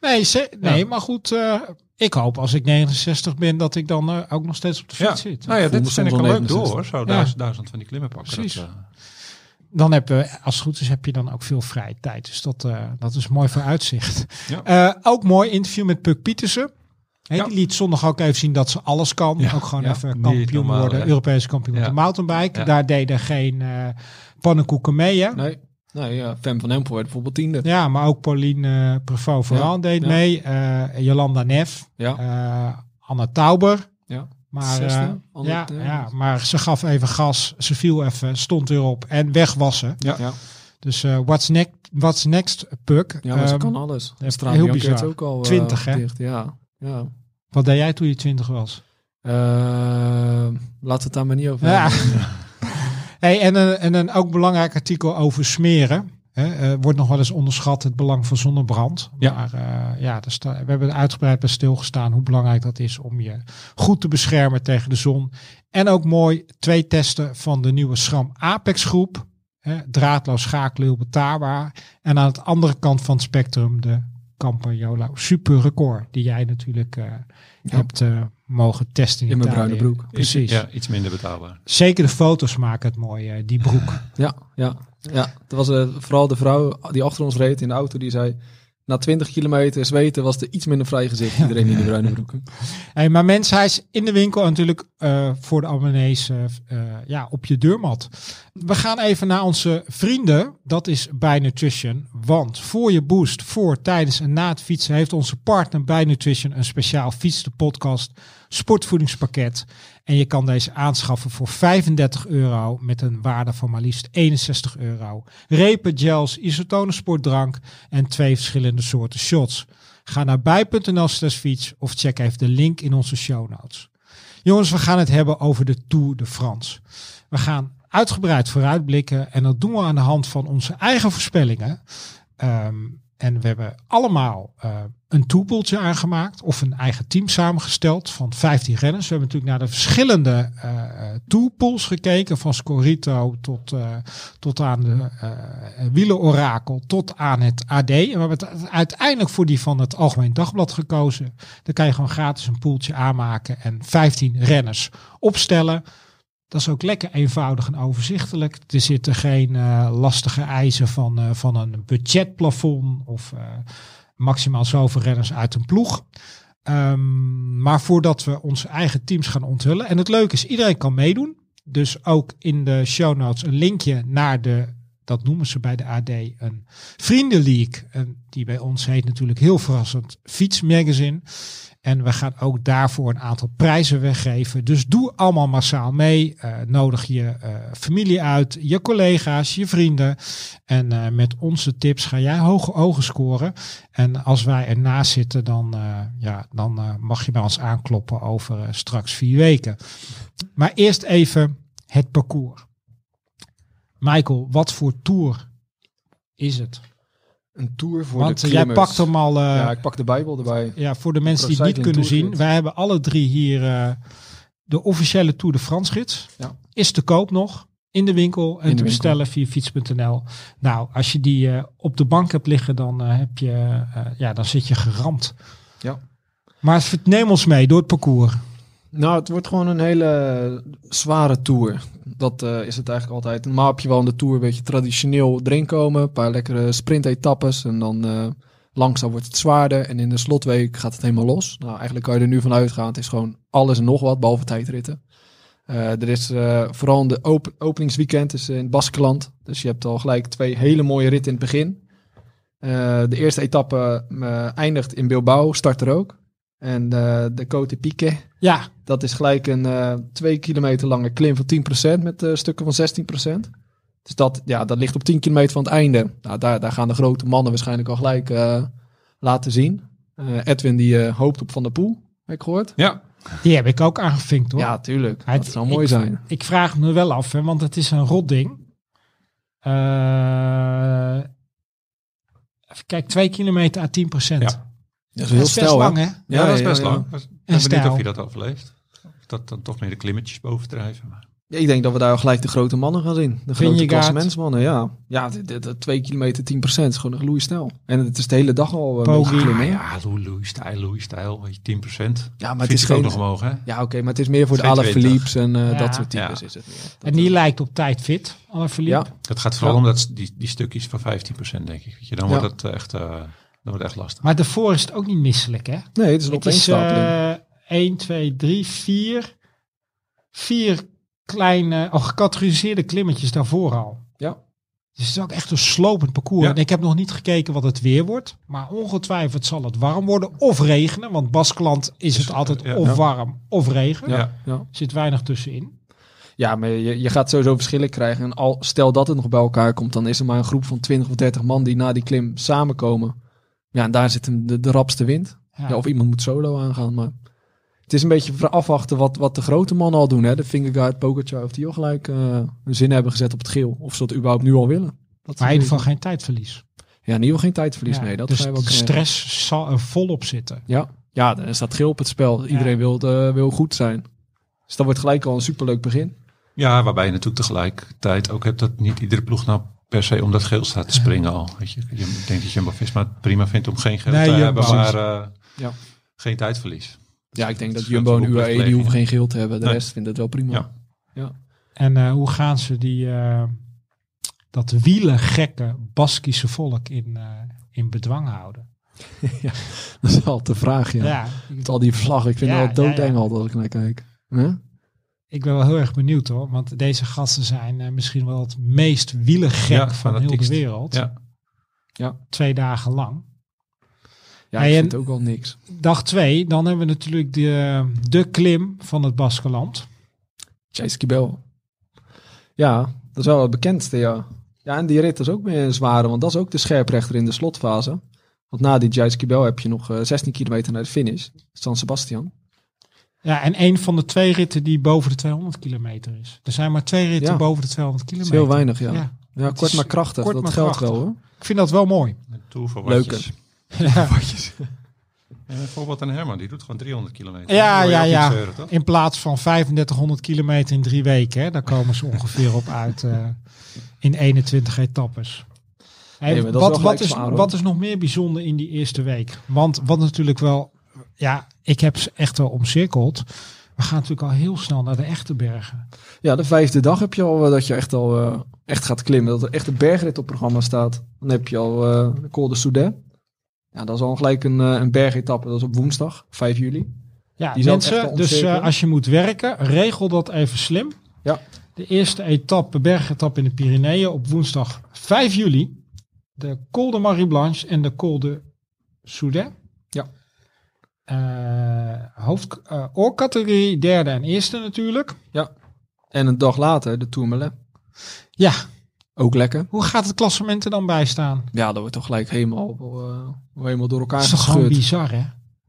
[SPEAKER 1] nee, ze- nee maar goed. eh, ik hoop als ik 69 ben dat ik dan eh, ook nog steeds op de fiets zit.
[SPEAKER 2] Nou ja,
[SPEAKER 3] Voel me
[SPEAKER 2] dit vind
[SPEAKER 3] soms
[SPEAKER 2] ik een
[SPEAKER 3] wel
[SPEAKER 2] leuk
[SPEAKER 3] 69.
[SPEAKER 2] door. hoor. Zo duizend, duizend van die klimmen pakken.
[SPEAKER 1] Precies.
[SPEAKER 2] Dat, eh,
[SPEAKER 1] Dan heb je, als het goed is, heb je dan ook veel vrije tijd. Dus dat, eh, dat is mooi vooruitzicht.
[SPEAKER 2] Ja.
[SPEAKER 1] Eh, ook mooi interview met Puk Pietersen. Hè,
[SPEAKER 2] Ja.
[SPEAKER 1] Die liet zondag ook even zien dat ze alles kan.
[SPEAKER 2] Ja,
[SPEAKER 1] Ook gewoon
[SPEAKER 2] ja.
[SPEAKER 1] even
[SPEAKER 2] Niet
[SPEAKER 1] kampioen
[SPEAKER 2] normaal,
[SPEAKER 1] worden.
[SPEAKER 2] hè.
[SPEAKER 1] Europese kampioen op
[SPEAKER 2] Ja.
[SPEAKER 1] de mountainbike.
[SPEAKER 2] Ja.
[SPEAKER 1] Daar deden geen eh pannenkoeken mee. Hè?
[SPEAKER 3] Nee, nee ja, Fem van Empel werd bijvoorbeeld tiende.
[SPEAKER 1] Ja, maar ook Pauline eh Prevot vooral deed
[SPEAKER 3] ja.
[SPEAKER 1] mee. eh, Jolanda Nef.
[SPEAKER 3] Ja.
[SPEAKER 1] eh, Anna Tauber.
[SPEAKER 3] Oh. Ja.
[SPEAKER 1] Maar,
[SPEAKER 3] Zesde,
[SPEAKER 1] eh,
[SPEAKER 3] Anne-
[SPEAKER 1] ja,
[SPEAKER 3] eh,
[SPEAKER 1] ja, maar ze gaf even gas. Ze viel even, stond weer op en weg was ze.
[SPEAKER 2] ja.
[SPEAKER 3] Ja,
[SPEAKER 1] Dus eh, what's, next, what's next, Puk?
[SPEAKER 3] ja maar ze
[SPEAKER 1] Ehm,
[SPEAKER 3] kan alles.
[SPEAKER 1] heel
[SPEAKER 3] Straat
[SPEAKER 1] bizar.
[SPEAKER 3] ook al eh,
[SPEAKER 1] 20, hè?
[SPEAKER 3] dicht, Ja, ja.
[SPEAKER 1] Wat deed jij toen je twintig was?
[SPEAKER 3] Eh, laten we het daar maar niet over
[SPEAKER 1] Ja.
[SPEAKER 3] hebben.
[SPEAKER 1] Hey, en, een, en een ook belangrijk artikel over smeren. Hè, eh, wordt nog wel eens onderschat het belang van zonnebrand.
[SPEAKER 2] Ja.
[SPEAKER 1] Maar eh, ja, daar sta- we hebben er uitgebreid bij stilgestaan hoe belangrijk dat is om je goed te beschermen tegen de zon. En ook mooi twee testen van de nieuwe Schram Apex groep. Hè, draadloos schakelen, heel betaalbaar. En aan de andere kant van het spectrum de Campagnolo Super Record. Die jij natuurlijk eh,
[SPEAKER 3] Ja.
[SPEAKER 1] hebt eh, mogen testen in,
[SPEAKER 3] In mijn
[SPEAKER 1] Italië.
[SPEAKER 3] bruine broek.
[SPEAKER 1] Precies.
[SPEAKER 2] Ja, iets minder betaalbaar.
[SPEAKER 1] Zeker de foto's maken het mooi, eh, die broek.
[SPEAKER 3] Ja, ja, ja. Er was eh, vooral de vrouw die achter ons reed in de auto, die zei... Na 20 kilometer zweten was er iets minder vrij gezicht. Iedereen in de bruine broeken.
[SPEAKER 1] Hey, maar mensen, hij is in de winkel en natuurlijk eh, voor de abonnees eh, eh, ja, op je deurmat. We gaan even naar onze vrienden. Dat is Bij Nutrition. Want voor je boost, voor, tijdens en na het fietsen... heeft onze partner Bij Nutrition een speciaal fietsen podcast sportvoedingspakket. En je kan deze aanschaffen voor 35 euro met een waarde van maar liefst 61 euro. Repen, gels, isotonen sportdrank en twee verschillende soorten shots. Ga naar bij.nl slash fiets of check even de link in onze show notes. Jongens, we gaan het hebben over de Tour de France. We gaan uitgebreid vooruitblikken en dat doen we aan de hand van onze eigen voorspellingen. Ehm, En we hebben allemaal eh, een toepoeltje aangemaakt of een eigen team samengesteld van 15 renners. We hebben natuurlijk naar de verschillende eh toepools gekeken, van Scorito tot, eh, tot aan de eh wielenorakel, tot aan het AD. En we hebben het uiteindelijk voor die van het Algemeen Dagblad gekozen. Dan kan je gewoon gratis een poeltje aanmaken en 15 renners opstellen. Dat is ook lekker eenvoudig en overzichtelijk. Er zitten geen eh, lastige eisen van, eh, van een budgetplafond of eh, maximaal zoveel renners uit een ploeg. Ehm, maar voordat we onze eigen teams gaan onthullen. En het leuke is, iedereen kan meedoen. Dus ook in de show notes een linkje naar de, dat noemen ze bij de AD, een vriendenleague. En die bij ons heet natuurlijk heel verrassend Fietsmagazine. En we gaan ook daarvoor een aantal prijzen weggeven. Dus doe allemaal massaal mee. Eh, nodig je eh, familie uit, je collega's, je vrienden. En eh, met onze tips ga jij hoge ogen scoren. En als wij ernaast zitten, dan, eh, ja, dan eh, mag je bij ons aankloppen over eh, straks vier weken. Maar eerst even het parcours. Michael, wat voor tour is het?
[SPEAKER 3] Een tour voor
[SPEAKER 1] Want
[SPEAKER 3] de
[SPEAKER 1] jij
[SPEAKER 3] klimmers.
[SPEAKER 1] pakt hem al eh,
[SPEAKER 3] Ja, ik pak de Bijbel erbij.
[SPEAKER 1] ja, voor de mensen die het niet
[SPEAKER 3] Pro
[SPEAKER 1] kunnen
[SPEAKER 3] Cycling
[SPEAKER 1] zien.
[SPEAKER 3] Tour
[SPEAKER 1] Wij hebben alle drie hier eh, de officiële Tour de France gids.
[SPEAKER 3] Ja.
[SPEAKER 1] Is te koop nog in de winkel en
[SPEAKER 3] In de
[SPEAKER 1] te
[SPEAKER 3] winkel.
[SPEAKER 1] bestellen via fiets.nl. Nou, als je die eh, op de bank hebt liggen, dan, eh, heb je, eh, ja, dan zit je geramd.
[SPEAKER 3] Ja.
[SPEAKER 1] Maar ver- neem ons mee door het parcours.
[SPEAKER 3] Nou, het wordt gewoon een hele zware tour. Dat eh, is het eigenlijk altijd. Normaal heb je wel in de tour een beetje traditioneel erin komen. Een paar lekkere sprintetappes. En dan eh, langzaam wordt het zwaarder. En in de slotweek gaat het helemaal los. Nou, eigenlijk kan je er nu van uitgaan. Het is gewoon alles en nog wat, behalve tijdritten. Eh, er is eh, vooral in de op- openingsweekend is in het Baskeland. Dus je hebt al gelijk twee hele mooie ritten in het begin. Eh, de eerste etappe eh, eindigt in Bilbao, start er ook. En eh, de Cote Pique,
[SPEAKER 1] Ja,
[SPEAKER 3] dat is gelijk een eh, twee kilometer lange klim van 10% met eh, stukken van 16%. Dus dat, ja, dat ligt op 10 kilometer van het einde. Nou, daar, daar gaan de grote mannen waarschijnlijk al gelijk eh, laten zien. Eh, Edwin die eh, hoopt op Van der Poel, heb ik gehoord.
[SPEAKER 2] Ja,
[SPEAKER 1] die heb ik ook aangevinkt hoor.
[SPEAKER 3] Ja, tuurlijk.
[SPEAKER 1] Hij-
[SPEAKER 3] dat zou mooi
[SPEAKER 1] ik-
[SPEAKER 3] zijn.
[SPEAKER 1] Ik vraag me wel af, hè, want het is een rot ding. Eh, even kijk, twee kilometer à 10
[SPEAKER 2] Ja.
[SPEAKER 3] Dat is
[SPEAKER 1] Dat is best lang, hè?
[SPEAKER 2] ja, dat is best
[SPEAKER 3] ja, ja.
[SPEAKER 2] lang. Ik ben benieuwd
[SPEAKER 1] stijl.
[SPEAKER 2] of je dat overleeft. Of dat dan toch meer de klimmetjes bovendrijven. Maar
[SPEAKER 3] Ja, ik denk dat we daar gelijk de grote mannen gaan zien. De grote
[SPEAKER 1] Vingegaard.
[SPEAKER 3] klassementsmannen, ja. Ja, dit- dit- dit twee kilometer 10% is gewoon een gloeisnel. En het is de hele dag al eh, een beetje
[SPEAKER 1] Poggi.
[SPEAKER 3] klimmen. hè?
[SPEAKER 2] ja, Louis, Louis stijl, Louis stijl, weet je, 10%.
[SPEAKER 3] Ja, maar
[SPEAKER 2] Maar
[SPEAKER 3] het is
[SPEAKER 2] ook
[SPEAKER 3] geen...
[SPEAKER 2] nog omhoog, hè?
[SPEAKER 3] Ja, oké, maar het is meer voor de
[SPEAKER 2] Geen
[SPEAKER 3] Alaphilippes en eh,
[SPEAKER 1] Ja.
[SPEAKER 3] dat soort types
[SPEAKER 2] Ja.
[SPEAKER 3] is het meer. Dat,
[SPEAKER 1] En die
[SPEAKER 3] eh,
[SPEAKER 1] lijkt op tijd fit, Alaphilippe.
[SPEAKER 3] Ja.
[SPEAKER 2] Het gaat vooral
[SPEAKER 3] Ja.
[SPEAKER 2] om dat, s- die, die stukjes van 15%, denk ik. Weet je, dan
[SPEAKER 3] Ja.
[SPEAKER 2] wordt het eh, echt, eh, dan wordt het echt lastig.
[SPEAKER 1] Maar daarvoor is het ook niet misselijk, hè?
[SPEAKER 3] Nee, het is een
[SPEAKER 1] Het is eh,
[SPEAKER 3] opeenstapeling.
[SPEAKER 1] 1, 2, 3, 4. Vier kleine, al gecategoriseerde klimmetjes daarvoor al.
[SPEAKER 3] Ja.
[SPEAKER 1] Dus het is ook echt een slopend parcours.
[SPEAKER 2] Ja.
[SPEAKER 1] En ik heb nog niet gekeken wat het weer wordt. Maar ongetwijfeld zal het warm worden of regenen. Want Baskeland is
[SPEAKER 2] Is-
[SPEAKER 1] het altijd
[SPEAKER 2] Dus, eh, ja.
[SPEAKER 1] of
[SPEAKER 3] Ja.
[SPEAKER 1] warm of regen.
[SPEAKER 2] Ja.
[SPEAKER 3] ja. ja.
[SPEAKER 1] Zit weinig tussenin.
[SPEAKER 3] Ja, maar je, je gaat sowieso verschillen krijgen. En al, stel dat het nog bij elkaar komt, dan is er maar een groep van 20 of 30 man die na die klim samenkomen. Ja, en daar zit hem de, de rapste wind.
[SPEAKER 1] Ja.
[SPEAKER 3] Ja, of iemand moet solo aangaan, maar... Het is een beetje ver- afwachten wat, wat de grote mannen al doen. Hè? De Fingerguard, Pogacar, of die al gelijk eh hun zin hebben gezet op het geel. Of ze dat überhaupt nu al willen. Dat
[SPEAKER 1] maar
[SPEAKER 3] is
[SPEAKER 1] in
[SPEAKER 3] een
[SPEAKER 1] ieder geval
[SPEAKER 3] beetje-
[SPEAKER 1] geen tijdverlies.
[SPEAKER 3] Ja, in ieder geval geen tijdverlies.
[SPEAKER 1] Ja.
[SPEAKER 3] Nee, dat
[SPEAKER 1] dus
[SPEAKER 3] ga je wel
[SPEAKER 1] de
[SPEAKER 3] krijgen.
[SPEAKER 1] stress zal er volop zitten.
[SPEAKER 3] Ja, ja dan staat geel op het spel. Iedereen wil, eh, wil goed zijn. Dus dat wordt gelijk al een superleuk begin.
[SPEAKER 2] Ja, waarbij je natuurlijk tegelijkertijd ook hebt dat niet iedere ploeg nou per se om dat geel staat te springen al. Weet je, ik denk dat Jumbo-Visma het prima vindt om geen geel
[SPEAKER 1] Nee,
[SPEAKER 2] te
[SPEAKER 1] Jumbo.
[SPEAKER 2] hebben, maar eh,
[SPEAKER 3] Ja.
[SPEAKER 2] geen tijdverlies.
[SPEAKER 3] Ja, ik denk dat
[SPEAKER 2] Scheelt
[SPEAKER 3] Jumbo
[SPEAKER 2] de
[SPEAKER 3] en UAE, die
[SPEAKER 2] boekrechtpleging.
[SPEAKER 3] hoeven geen geel te hebben. De
[SPEAKER 2] Nee.
[SPEAKER 3] rest vindt het wel prima.
[SPEAKER 2] Ja.
[SPEAKER 1] En eh, hoe gaan ze die, eh, dat wielengekke Baskische volk in, eh, in bedwang houden?
[SPEAKER 3] Dat is altijd de vraag, ja.
[SPEAKER 1] Ja,
[SPEAKER 3] Met
[SPEAKER 1] ik,
[SPEAKER 3] al die vlaggen. Ik vind
[SPEAKER 1] Ja,
[SPEAKER 3] het wel
[SPEAKER 1] ja, ja.
[SPEAKER 3] doodeng al dat ik naar kijk. Huh?
[SPEAKER 1] ik ben wel heel erg benieuwd hoor. Want deze gasten zijn eh, misschien wel het meest wielengek van
[SPEAKER 2] Ja,
[SPEAKER 1] heel de
[SPEAKER 2] fanatiekst.
[SPEAKER 1] wereld.
[SPEAKER 2] Ja.
[SPEAKER 3] Ja.
[SPEAKER 1] Twee dagen lang.
[SPEAKER 3] Ja,
[SPEAKER 1] Hey,
[SPEAKER 3] ik
[SPEAKER 1] en-
[SPEAKER 3] vind het ook wel niks.
[SPEAKER 1] Dag twee, dan hebben we natuurlijk de, de klim van het Baskeland.
[SPEAKER 3] Chase Kibel. Ja, dat is wel het bekendste, ja. Ja, en die rit is ook weer een zware, want dat is ook de scherprechter in de slotfase. Want na die Chase Kibel heb je nog eh, 16 kilometer naar de finish. San Sebastian.
[SPEAKER 1] Ja, en een van de twee ritten die boven de 200 kilometer is. Er zijn maar twee ritten
[SPEAKER 3] Ja.
[SPEAKER 1] boven de 200
[SPEAKER 3] Dat is
[SPEAKER 1] kilometer.
[SPEAKER 3] heel weinig, ja.
[SPEAKER 1] Ja.
[SPEAKER 3] Ja,
[SPEAKER 1] Het
[SPEAKER 3] kort
[SPEAKER 1] is
[SPEAKER 3] maar krachtig.
[SPEAKER 1] kort
[SPEAKER 3] dat
[SPEAKER 1] maar
[SPEAKER 3] geldt
[SPEAKER 1] krachtig.
[SPEAKER 3] wel hoor.
[SPEAKER 1] Ik vind dat wel mooi.
[SPEAKER 2] Toe voor
[SPEAKER 3] Leuke.
[SPEAKER 2] watjes.
[SPEAKER 1] Ja,
[SPEAKER 2] Ja, bijvoorbeeld aan Herman, die doet gewoon 300 kilometer.
[SPEAKER 1] Ja,
[SPEAKER 2] Dan word je
[SPEAKER 1] ja,
[SPEAKER 2] ook niet
[SPEAKER 1] ja.
[SPEAKER 2] zeuren, toch?
[SPEAKER 1] in plaats van 3500 kilometer in drie weken, hè, daar komen ze ongeveer op uit eh, in 21 etappes. Hey,
[SPEAKER 3] Nee, maar dat is wel
[SPEAKER 1] wat,
[SPEAKER 3] gelijk
[SPEAKER 1] wat, is,
[SPEAKER 3] zwaar, hoor.
[SPEAKER 1] wat is nog meer bijzonder in die eerste week? Want wat natuurlijk wel, ja, ik heb ze echt wel omcirkeld. We gaan natuurlijk al heel snel naar de echte bergen.
[SPEAKER 3] Ja, de vijfde dag heb je al eh, dat je echt al eh, echt gaat klimmen. Dat er echt een bergrit op programma staat. Dan heb je al eh, de Col de Soudet. Ja, dat is al gelijk een, eh, een bergetappe. Dat is op woensdag, 5 juli.
[SPEAKER 1] Ja,
[SPEAKER 3] Die zal het
[SPEAKER 1] mensen,
[SPEAKER 3] echt wel
[SPEAKER 1] dus
[SPEAKER 3] ontzekeren.
[SPEAKER 1] eh, als je moet werken, regel dat even slim.
[SPEAKER 3] Ja.
[SPEAKER 1] De eerste etappe, bergetap in de Pyreneeën op woensdag 5 juli. De Col de Marie Blanche en de Col de Soudet.
[SPEAKER 3] Ja.
[SPEAKER 1] Eh, hoofd, eh, oorcategorie, derde en eerste natuurlijk.
[SPEAKER 3] En een dag later de Tourmalet.
[SPEAKER 1] Ja,
[SPEAKER 3] Ook lekker.
[SPEAKER 1] hoe gaat het klassement er dan bij staan?
[SPEAKER 3] Ja, dat wordt toch gelijk helemaal, eh, helemaal door elkaar
[SPEAKER 1] Dat is toch gewoon
[SPEAKER 3] gescheurd.
[SPEAKER 1] bizar, hè?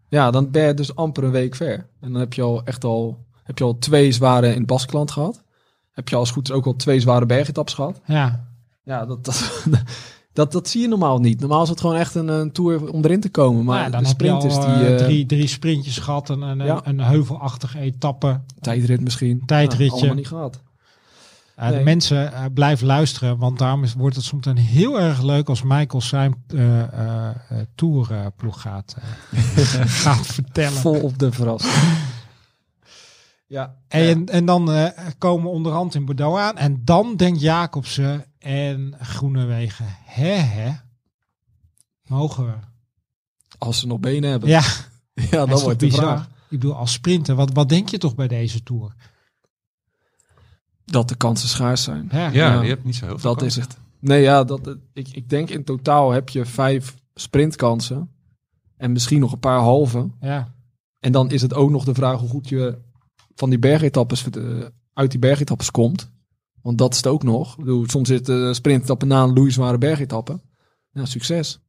[SPEAKER 3] Ja, dan ben je dus amper een week ver. En dan heb je al echt al, heb je al twee zware in het Baskeland gehad. Heb je als goed is ook al twee zware bergetaps gehad.
[SPEAKER 1] Ja,
[SPEAKER 3] Ja, dat, dat, dat, dat zie je normaal niet. Normaal is het gewoon echt een, een tour om erin te komen. Maar
[SPEAKER 1] Nou ja, dan
[SPEAKER 3] de
[SPEAKER 1] heb je
[SPEAKER 3] sprint
[SPEAKER 1] al
[SPEAKER 3] is die
[SPEAKER 1] eh,
[SPEAKER 3] eh,
[SPEAKER 1] drie, drie sprintjes gehad en een,
[SPEAKER 3] Ja.
[SPEAKER 1] een heuvelachtige etappe.
[SPEAKER 3] tijdrit misschien.
[SPEAKER 1] Tijdritje.
[SPEAKER 3] Ja, allemaal niet gehad.
[SPEAKER 1] Ja,
[SPEAKER 3] Nee.
[SPEAKER 1] de mensen eh blijven luisteren, want daarom is, wordt het soms dan heel erg leuk als Michael zijn eh eh, eh, tourploeg gaat, eh, gaat vertellen.
[SPEAKER 3] Vol op de verrassing. ja.
[SPEAKER 1] En, en, dan eh, komen we onderhand in Bordeaux aan. En dan denkt Jacobsen en Groenewegen, hè hè, mogen we?
[SPEAKER 3] Als ze nog benen hebben. Ja,
[SPEAKER 1] Ja, dat
[SPEAKER 3] dan
[SPEAKER 1] is toch
[SPEAKER 3] wordt de
[SPEAKER 1] bizar.
[SPEAKER 3] vraag.
[SPEAKER 1] Ik bedoel, als sprinter, wat, wat denk je toch bij deze Tour?
[SPEAKER 3] Dat de kansen schaars zijn.
[SPEAKER 1] Hè?
[SPEAKER 2] Ja,
[SPEAKER 3] Ja.
[SPEAKER 2] je hebt niet zo heel veel
[SPEAKER 3] Dat
[SPEAKER 2] kans.
[SPEAKER 3] is het. Nee, ja, dat, eh, ik, ik denk in totaal heb je vijf sprintkansen. En misschien nog een paar halve.
[SPEAKER 1] Ja.
[SPEAKER 3] En dan is het ook nog de vraag hoe goed je van die bergetappes, eh, uit die bergetappes komt. Want dat is het ook nog. Ik bedoel, soms zit de sprintetappen na een loeizware bergetappen. Nou, succes.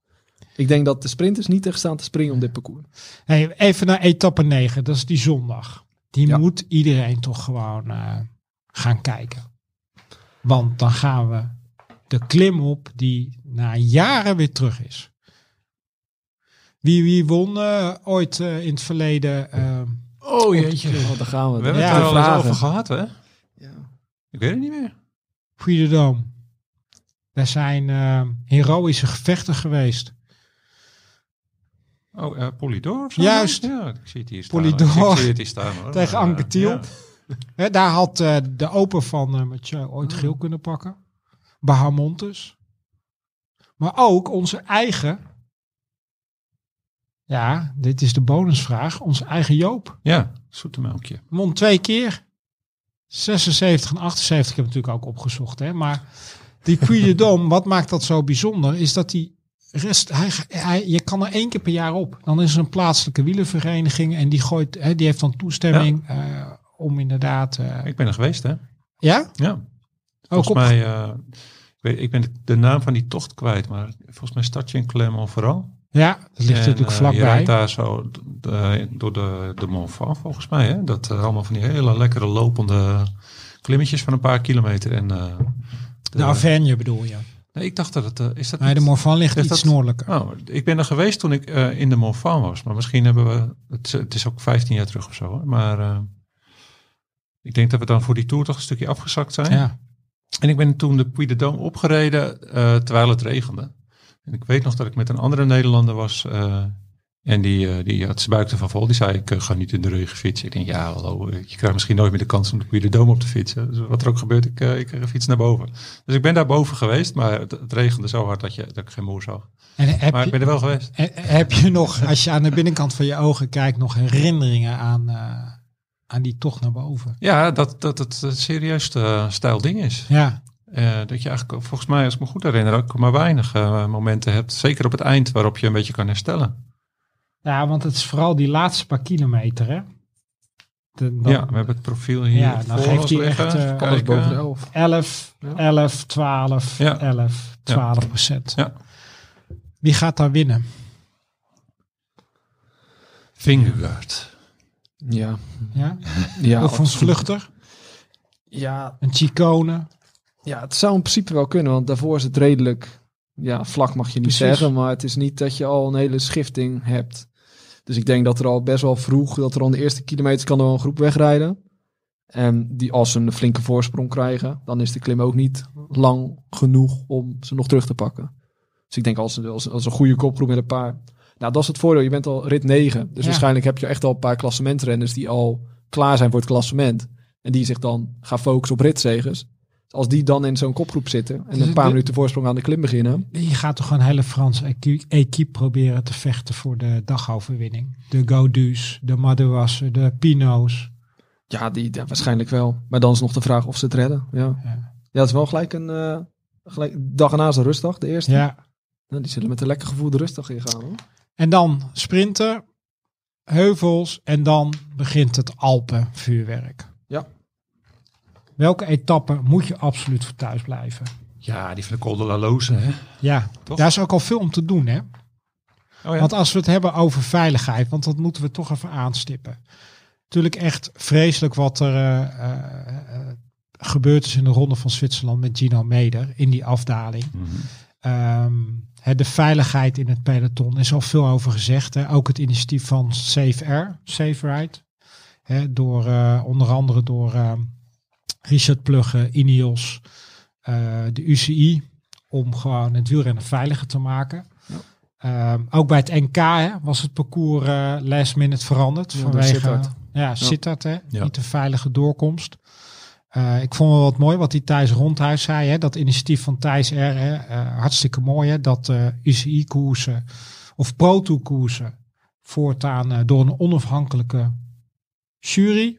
[SPEAKER 3] Ik denk dat de sprinters niet echt staan te springen om dit parcours.
[SPEAKER 1] Hey, even naar etappe 9, dat is die zondag. Die
[SPEAKER 3] Ja.
[SPEAKER 1] moet iedereen toch gewoon eh, gaan kijken. Want dan gaan we de klim op die na jaren weer terug is. Wie, wie won eh, ooit eh, in het verleden? eh,
[SPEAKER 3] Oh jeetje. daar gaan we.
[SPEAKER 2] We hebben
[SPEAKER 1] Ja,
[SPEAKER 2] het er al eens
[SPEAKER 3] vragen.
[SPEAKER 2] over gehad, hè?
[SPEAKER 3] Ja.
[SPEAKER 2] Ik weet het niet meer.
[SPEAKER 1] Puy de Dome. Daar zijn eh, heroïsche gevechten geweest.
[SPEAKER 2] Oh, eh, Polydor? of zo?
[SPEAKER 1] Juist.
[SPEAKER 2] Ja, ik zie het hier staan.
[SPEAKER 1] Polydor.
[SPEAKER 2] Ik zie het hier staan, hoor.
[SPEAKER 1] Tegen
[SPEAKER 2] Maar, eh,
[SPEAKER 1] Anke Thiel.
[SPEAKER 2] ja.
[SPEAKER 1] Hè, daar had eh, de open van eh Mathieu ooit geel kunnen pakken. Bahamontes. Maar ook onze eigen. Ja, dit is de bonusvraag. Onze eigen Joop.
[SPEAKER 2] Ja, zoetemelkje.
[SPEAKER 1] Won twee keer. 76 en 78 ik heb ik natuurlijk ook opgezocht. Hè? Maar die Puy de Dôme, wat maakt dat zo bijzonder? Is dat die rest... Hij, hij- je kan er één keer per jaar op. Dan is er een plaatselijke wielenvereniging. En die, gooit, hè, die heeft dan toestemming eh, om inderdaad... eh,
[SPEAKER 2] Ik ben er geweest, hè?
[SPEAKER 1] ja?
[SPEAKER 2] Ja.
[SPEAKER 1] Ook
[SPEAKER 2] Volgens
[SPEAKER 1] op
[SPEAKER 2] mij, eh, ik, weet, ik ben de naam van die tocht kwijt, maar volgens mij start je in Clermont vooral.
[SPEAKER 1] Ja, dat ligt natuurlijk
[SPEAKER 2] Je
[SPEAKER 1] vlakbij.
[SPEAKER 2] rijdt daar zo d- de- door de, de Mont Blanc, volgens mij. Hè? Dat eh, allemaal van die hele lekkere lopende klimmetjes van een paar kilometer. En, eh, de-
[SPEAKER 1] de Auvergne bedoel je.
[SPEAKER 2] nee, ik dacht dat het... eh, is dat
[SPEAKER 1] Nee, de
[SPEAKER 2] niet-
[SPEAKER 1] Morvan ligt
[SPEAKER 2] Is
[SPEAKER 1] iets
[SPEAKER 2] dat-
[SPEAKER 1] noordelijker.
[SPEAKER 2] Oh, ik ben er geweest toen ik eh, in de Mont Blanc was. Maar misschien hebben we... Het, is- het is ook 15 jaar terug of zo. Hoor. Maar eh, ik denk dat we dan voor die tour toch een stukje afgezakt zijn.
[SPEAKER 1] Ja.
[SPEAKER 2] En ik ben toen de Puy de Dôme opgereden eh, terwijl het regende. En ik weet nog dat ik met een andere Nederlander was. eh, en die, eh, die had zijn buik ervan vol. Die zei, ik eh, ga niet in de regen fietsen. Ik denk, ja, hallo, eh, je krijgt misschien nooit meer de kans om de Puy de Dôme op te fietsen. Dus wat er ook gebeurt, ik, eh, ik eh, fiets naar boven. Dus ik ben daar boven geweest, maar het, het regende zo hard dat, je, dat ik geen moer zag.
[SPEAKER 1] En heb,
[SPEAKER 2] Maar ik
[SPEAKER 1] je,
[SPEAKER 2] ben er wel geweest.
[SPEAKER 1] en- heb je nog, als je aan de binnenkant van je ogen kijkt, nog herinneringen aan, eh, aan die tocht naar boven?
[SPEAKER 2] Ja, dat, dat het een serieus eh, stijl ding is.
[SPEAKER 1] Ja,
[SPEAKER 2] Eh, dat je eigenlijk, volgens mij, als ik me goed herinner, ook maar weinig eh, momenten hebt. Zeker op het eind waarop je een beetje kan herstellen.
[SPEAKER 1] ja want het is vooral die laatste paar kilometer, hè? De- dan
[SPEAKER 2] ja, we hebben het profiel hier
[SPEAKER 1] Ja, dan
[SPEAKER 2] voor
[SPEAKER 1] geeft
[SPEAKER 2] ons
[SPEAKER 1] hij
[SPEAKER 2] liggen.
[SPEAKER 1] echt, eh,
[SPEAKER 2] Even
[SPEAKER 3] Alles
[SPEAKER 2] kijken.
[SPEAKER 3] boven de elf.
[SPEAKER 1] 11,
[SPEAKER 3] Ja.
[SPEAKER 1] 11, 12,
[SPEAKER 2] Ja.
[SPEAKER 1] 11, 12 procent.
[SPEAKER 2] Ja.
[SPEAKER 1] Wie gaat daar winnen?
[SPEAKER 2] Vingegaard.
[SPEAKER 3] Ja.
[SPEAKER 1] Ja?
[SPEAKER 3] Ja,
[SPEAKER 1] Of een vluchter?
[SPEAKER 3] ja,
[SPEAKER 1] Een Chicone?
[SPEAKER 3] ja, het zou in principe wel kunnen. Want daarvoor is het redelijk ja, vlak mag je niet
[SPEAKER 1] Precies.
[SPEAKER 3] zeggen, maar het is niet dat je al een hele schifting hebt. Dus ik denk dat er al best wel vroeg, dat er al in de eerste kilometers kan er wel een groep wegrijden. En die als ze een flinke voorsprong krijgen, dan is de klim ook niet lang genoeg om ze nog terug te pakken. Dus ik denk als, een- als, als een goede kopgroep met een paar. Nou, dat is het voordeel. Je bent al rit 9. Dus
[SPEAKER 1] Ja.
[SPEAKER 3] waarschijnlijk heb je echt al een paar klassementrenners die al klaar zijn voor het klassement. En die zich dan gaan focussen op ritzegers. Dus Als die dan in zo'n kopgroep zitten en
[SPEAKER 1] Dus
[SPEAKER 3] een paar
[SPEAKER 1] de-
[SPEAKER 3] minuten voorsprong aan de klim beginnen.
[SPEAKER 1] Je gaat toch gewoon een hele Franse equi- equipe proberen te vechten voor de dagoverwinning. De Godus, de Maduassen, de Pino's.
[SPEAKER 3] Ja, die, ja, waarschijnlijk wel. Maar dan is nog de vraag of ze het redden. Ja,
[SPEAKER 1] Ja.
[SPEAKER 3] ja. het is wel gelijk een eh, gelijk, dag na zijn rustdag, de eerste.
[SPEAKER 1] Ja.
[SPEAKER 3] Nou, die zullen met een lekker gevoel de rustdag ingaan. Hoor.
[SPEAKER 1] En dan sprinter, heuvels en dan begint het Alpenvuurwerk.
[SPEAKER 3] Ja.
[SPEAKER 1] Welke etappe moet je absoluut voor thuis blijven?
[SPEAKER 2] Ja, die van de Col de la Loze, hè?
[SPEAKER 1] Ja,
[SPEAKER 2] Toch?
[SPEAKER 1] daar is ook al veel om te doen, hè?
[SPEAKER 2] Oh ja.
[SPEAKER 1] Want als we het hebben over veiligheid, want dat moeten we toch even aanstippen. Natuurlijk echt vreselijk wat er eh, eh, eh, gebeurd is in de Ronde van Zwitserland met Gino Meder in die afdaling.
[SPEAKER 2] Mhm.
[SPEAKER 1] Ehm, hè, de veiligheid in het peloton is al veel over gezegd. Hè. Ook het initiatief van Safe Air, Safe Ride. Hè, door, eh, onder andere door ehm, Richard Plugge, Ineos, eh, de UCI. Om gewoon het wielrennen veiliger te maken. Ehm, ook bij het NK hè, was het parcours eh, last minute veranderd.
[SPEAKER 3] Ja, door
[SPEAKER 1] vanwege
[SPEAKER 3] Sittard.
[SPEAKER 1] Ja, Sittard, hè,
[SPEAKER 2] Ja.
[SPEAKER 1] niet een veilige doorkomst. Eh, ik vond wel wat mooi wat die Thijs Rondhuis zei. Hè? Dat initiatief van Thijs R. Hè? eh, hartstikke mooi. Hè? Dat eh UCI-koersen of Pro-Tour-koersen voortaan eh, door een onafhankelijke jury.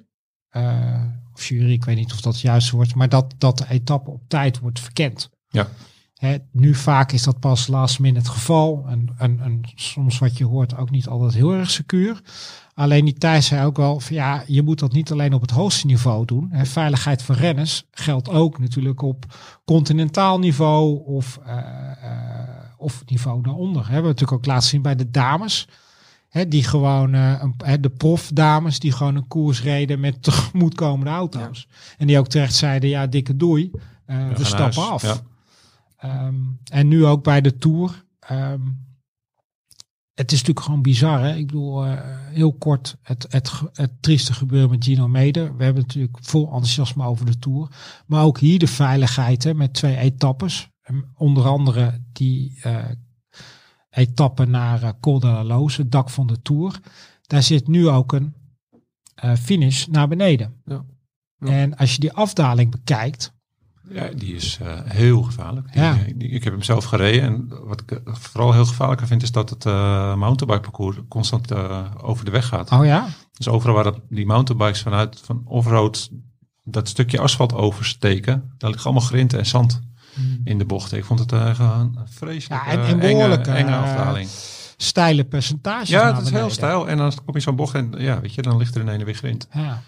[SPEAKER 1] eh, of jury, ik weet niet of dat het juiste wordt. Maar dat, dat de etappe op tijd wordt verkend.
[SPEAKER 2] Ja.
[SPEAKER 1] Hè, nu vaak is dat pas last minute het geval. En, en, en soms wat je hoort ook niet altijd heel erg secuur. Alleen die Thijs zei ook wel van ja, je moet dat niet alleen op het hoogste niveau doen. Hè, veiligheid van renners geldt ook natuurlijk op continentaal niveau of, eh, eh, of het niveau daaronder. Hè, We hebben natuurlijk ook laten zien bij de dames. Hè, die gewoon, eh, een, hè, de profdames die gewoon een koers reden met tegemoetkomende auto's. En die ook terecht zeiden, ja, dikke doei, eh,
[SPEAKER 2] gaan
[SPEAKER 1] we
[SPEAKER 2] naar
[SPEAKER 1] stappen
[SPEAKER 2] huis.
[SPEAKER 1] af.
[SPEAKER 2] Ja.
[SPEAKER 1] Ehm, en nu ook bij de Tour. ehm, het is natuurlijk gewoon bizar. Hè? Ik bedoel, eh, heel kort het, het, ge- het trieste gebeuren met Gino Meder. We hebben natuurlijk vol enthousiasme over de Tour. Maar ook hier de veiligheid hè, met twee etappes. En Onder andere die eh, etappe naar eh, Col de la Loze, het dak van de Tour. Daar zit nu ook een eh, finish naar beneden.
[SPEAKER 3] Ja. Ja.
[SPEAKER 1] En als je die afdaling bekijkt,
[SPEAKER 2] Ja, die is eh, heel gevaarlijk. Die-
[SPEAKER 1] Ja.
[SPEAKER 2] die- ik heb hem zelf gereden. En wat ik eh, vooral heel gevaarlijk vind, is dat het eh mountainbike parcours constant eh, over de weg gaat.
[SPEAKER 1] oh ja,
[SPEAKER 2] Dus overal waar dat- die mountainbikes vanuit van offroad dat stukje asfalt oversteken, daar ligt allemaal grind en zand in de bochten. Ik vond het eh, gewoon een vreselijk
[SPEAKER 1] Ja, en-
[SPEAKER 2] eh,
[SPEAKER 1] en behoorlijk,
[SPEAKER 2] enge, enge
[SPEAKER 1] eh,
[SPEAKER 2] afdaling.
[SPEAKER 1] steile percentages.
[SPEAKER 2] Ja,
[SPEAKER 1] naar
[SPEAKER 2] het is heel
[SPEAKER 1] beneden.
[SPEAKER 2] stijl. En dan kom je zo'n bocht en ja, weet je, dan ligt er in ene weer grind.
[SPEAKER 1] Ja.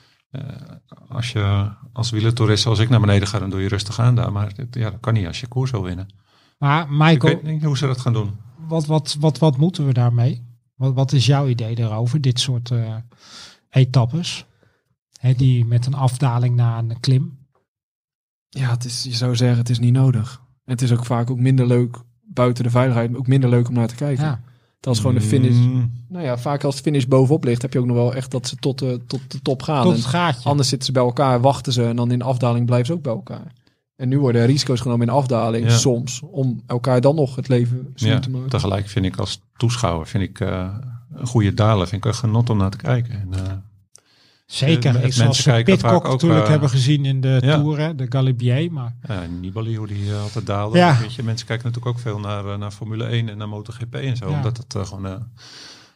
[SPEAKER 2] Als je als wielertoerist zoals ik naar beneden ga, dan doe je rustig aan daar. Maar dit- ja, dat kan niet als je koers wil winnen.
[SPEAKER 1] Maar
[SPEAKER 2] Ik
[SPEAKER 1] Michael,
[SPEAKER 2] weet niet hoe ze dat gaan doen.
[SPEAKER 1] wat, wat, wat, wat moeten we daarmee? Wat, wat is jouw idee daarover, dit soort eh, etappes? Hè, die met een afdaling na een klim.
[SPEAKER 3] Ja, het is, je zou zeggen, het is niet nodig. En het is ook vaak ook minder leuk buiten de veiligheid, maar ook minder leuk om naar te kijken.
[SPEAKER 1] Ja.
[SPEAKER 3] Dat is gewoon de finish.
[SPEAKER 2] Mm,
[SPEAKER 3] Nou ja, vaak als de finish bovenop ligt, heb je ook nog wel echt dat ze tot de, tot de top gaan.
[SPEAKER 1] Tot
[SPEAKER 3] En
[SPEAKER 1] het gaatje.
[SPEAKER 3] Anders zitten ze bij elkaar, wachten ze en dan in de afdaling blijven ze ook bij elkaar. En nu worden er risico's genomen in de afdaling
[SPEAKER 2] Ja.
[SPEAKER 3] soms, om elkaar dan nog het leven zuur
[SPEAKER 2] ja,
[SPEAKER 3] te maken.
[SPEAKER 2] tegelijk vind ik als toeschouwer vind ik, eh, een goede dalen. Vind ik een genot om naar te kijken. En, eh,
[SPEAKER 1] Zeker.
[SPEAKER 2] eh,
[SPEAKER 1] Ik
[SPEAKER 2] mensen
[SPEAKER 1] zoals ze
[SPEAKER 2] kijken
[SPEAKER 1] Pitcock
[SPEAKER 2] vaak ook,
[SPEAKER 1] natuurlijk
[SPEAKER 2] eh,
[SPEAKER 1] hebben gezien in de
[SPEAKER 2] ja.
[SPEAKER 1] Tour, hè, de Galibier. Maar
[SPEAKER 2] Ja, Nibali, hoe die eh, altijd daalde.
[SPEAKER 1] Ja.
[SPEAKER 2] Weet je, mensen kijken natuurlijk ook veel naar, eh, naar Formule 1 en naar MotoGP en zo.
[SPEAKER 1] Ja.
[SPEAKER 2] Omdat het eh, gewoon eh,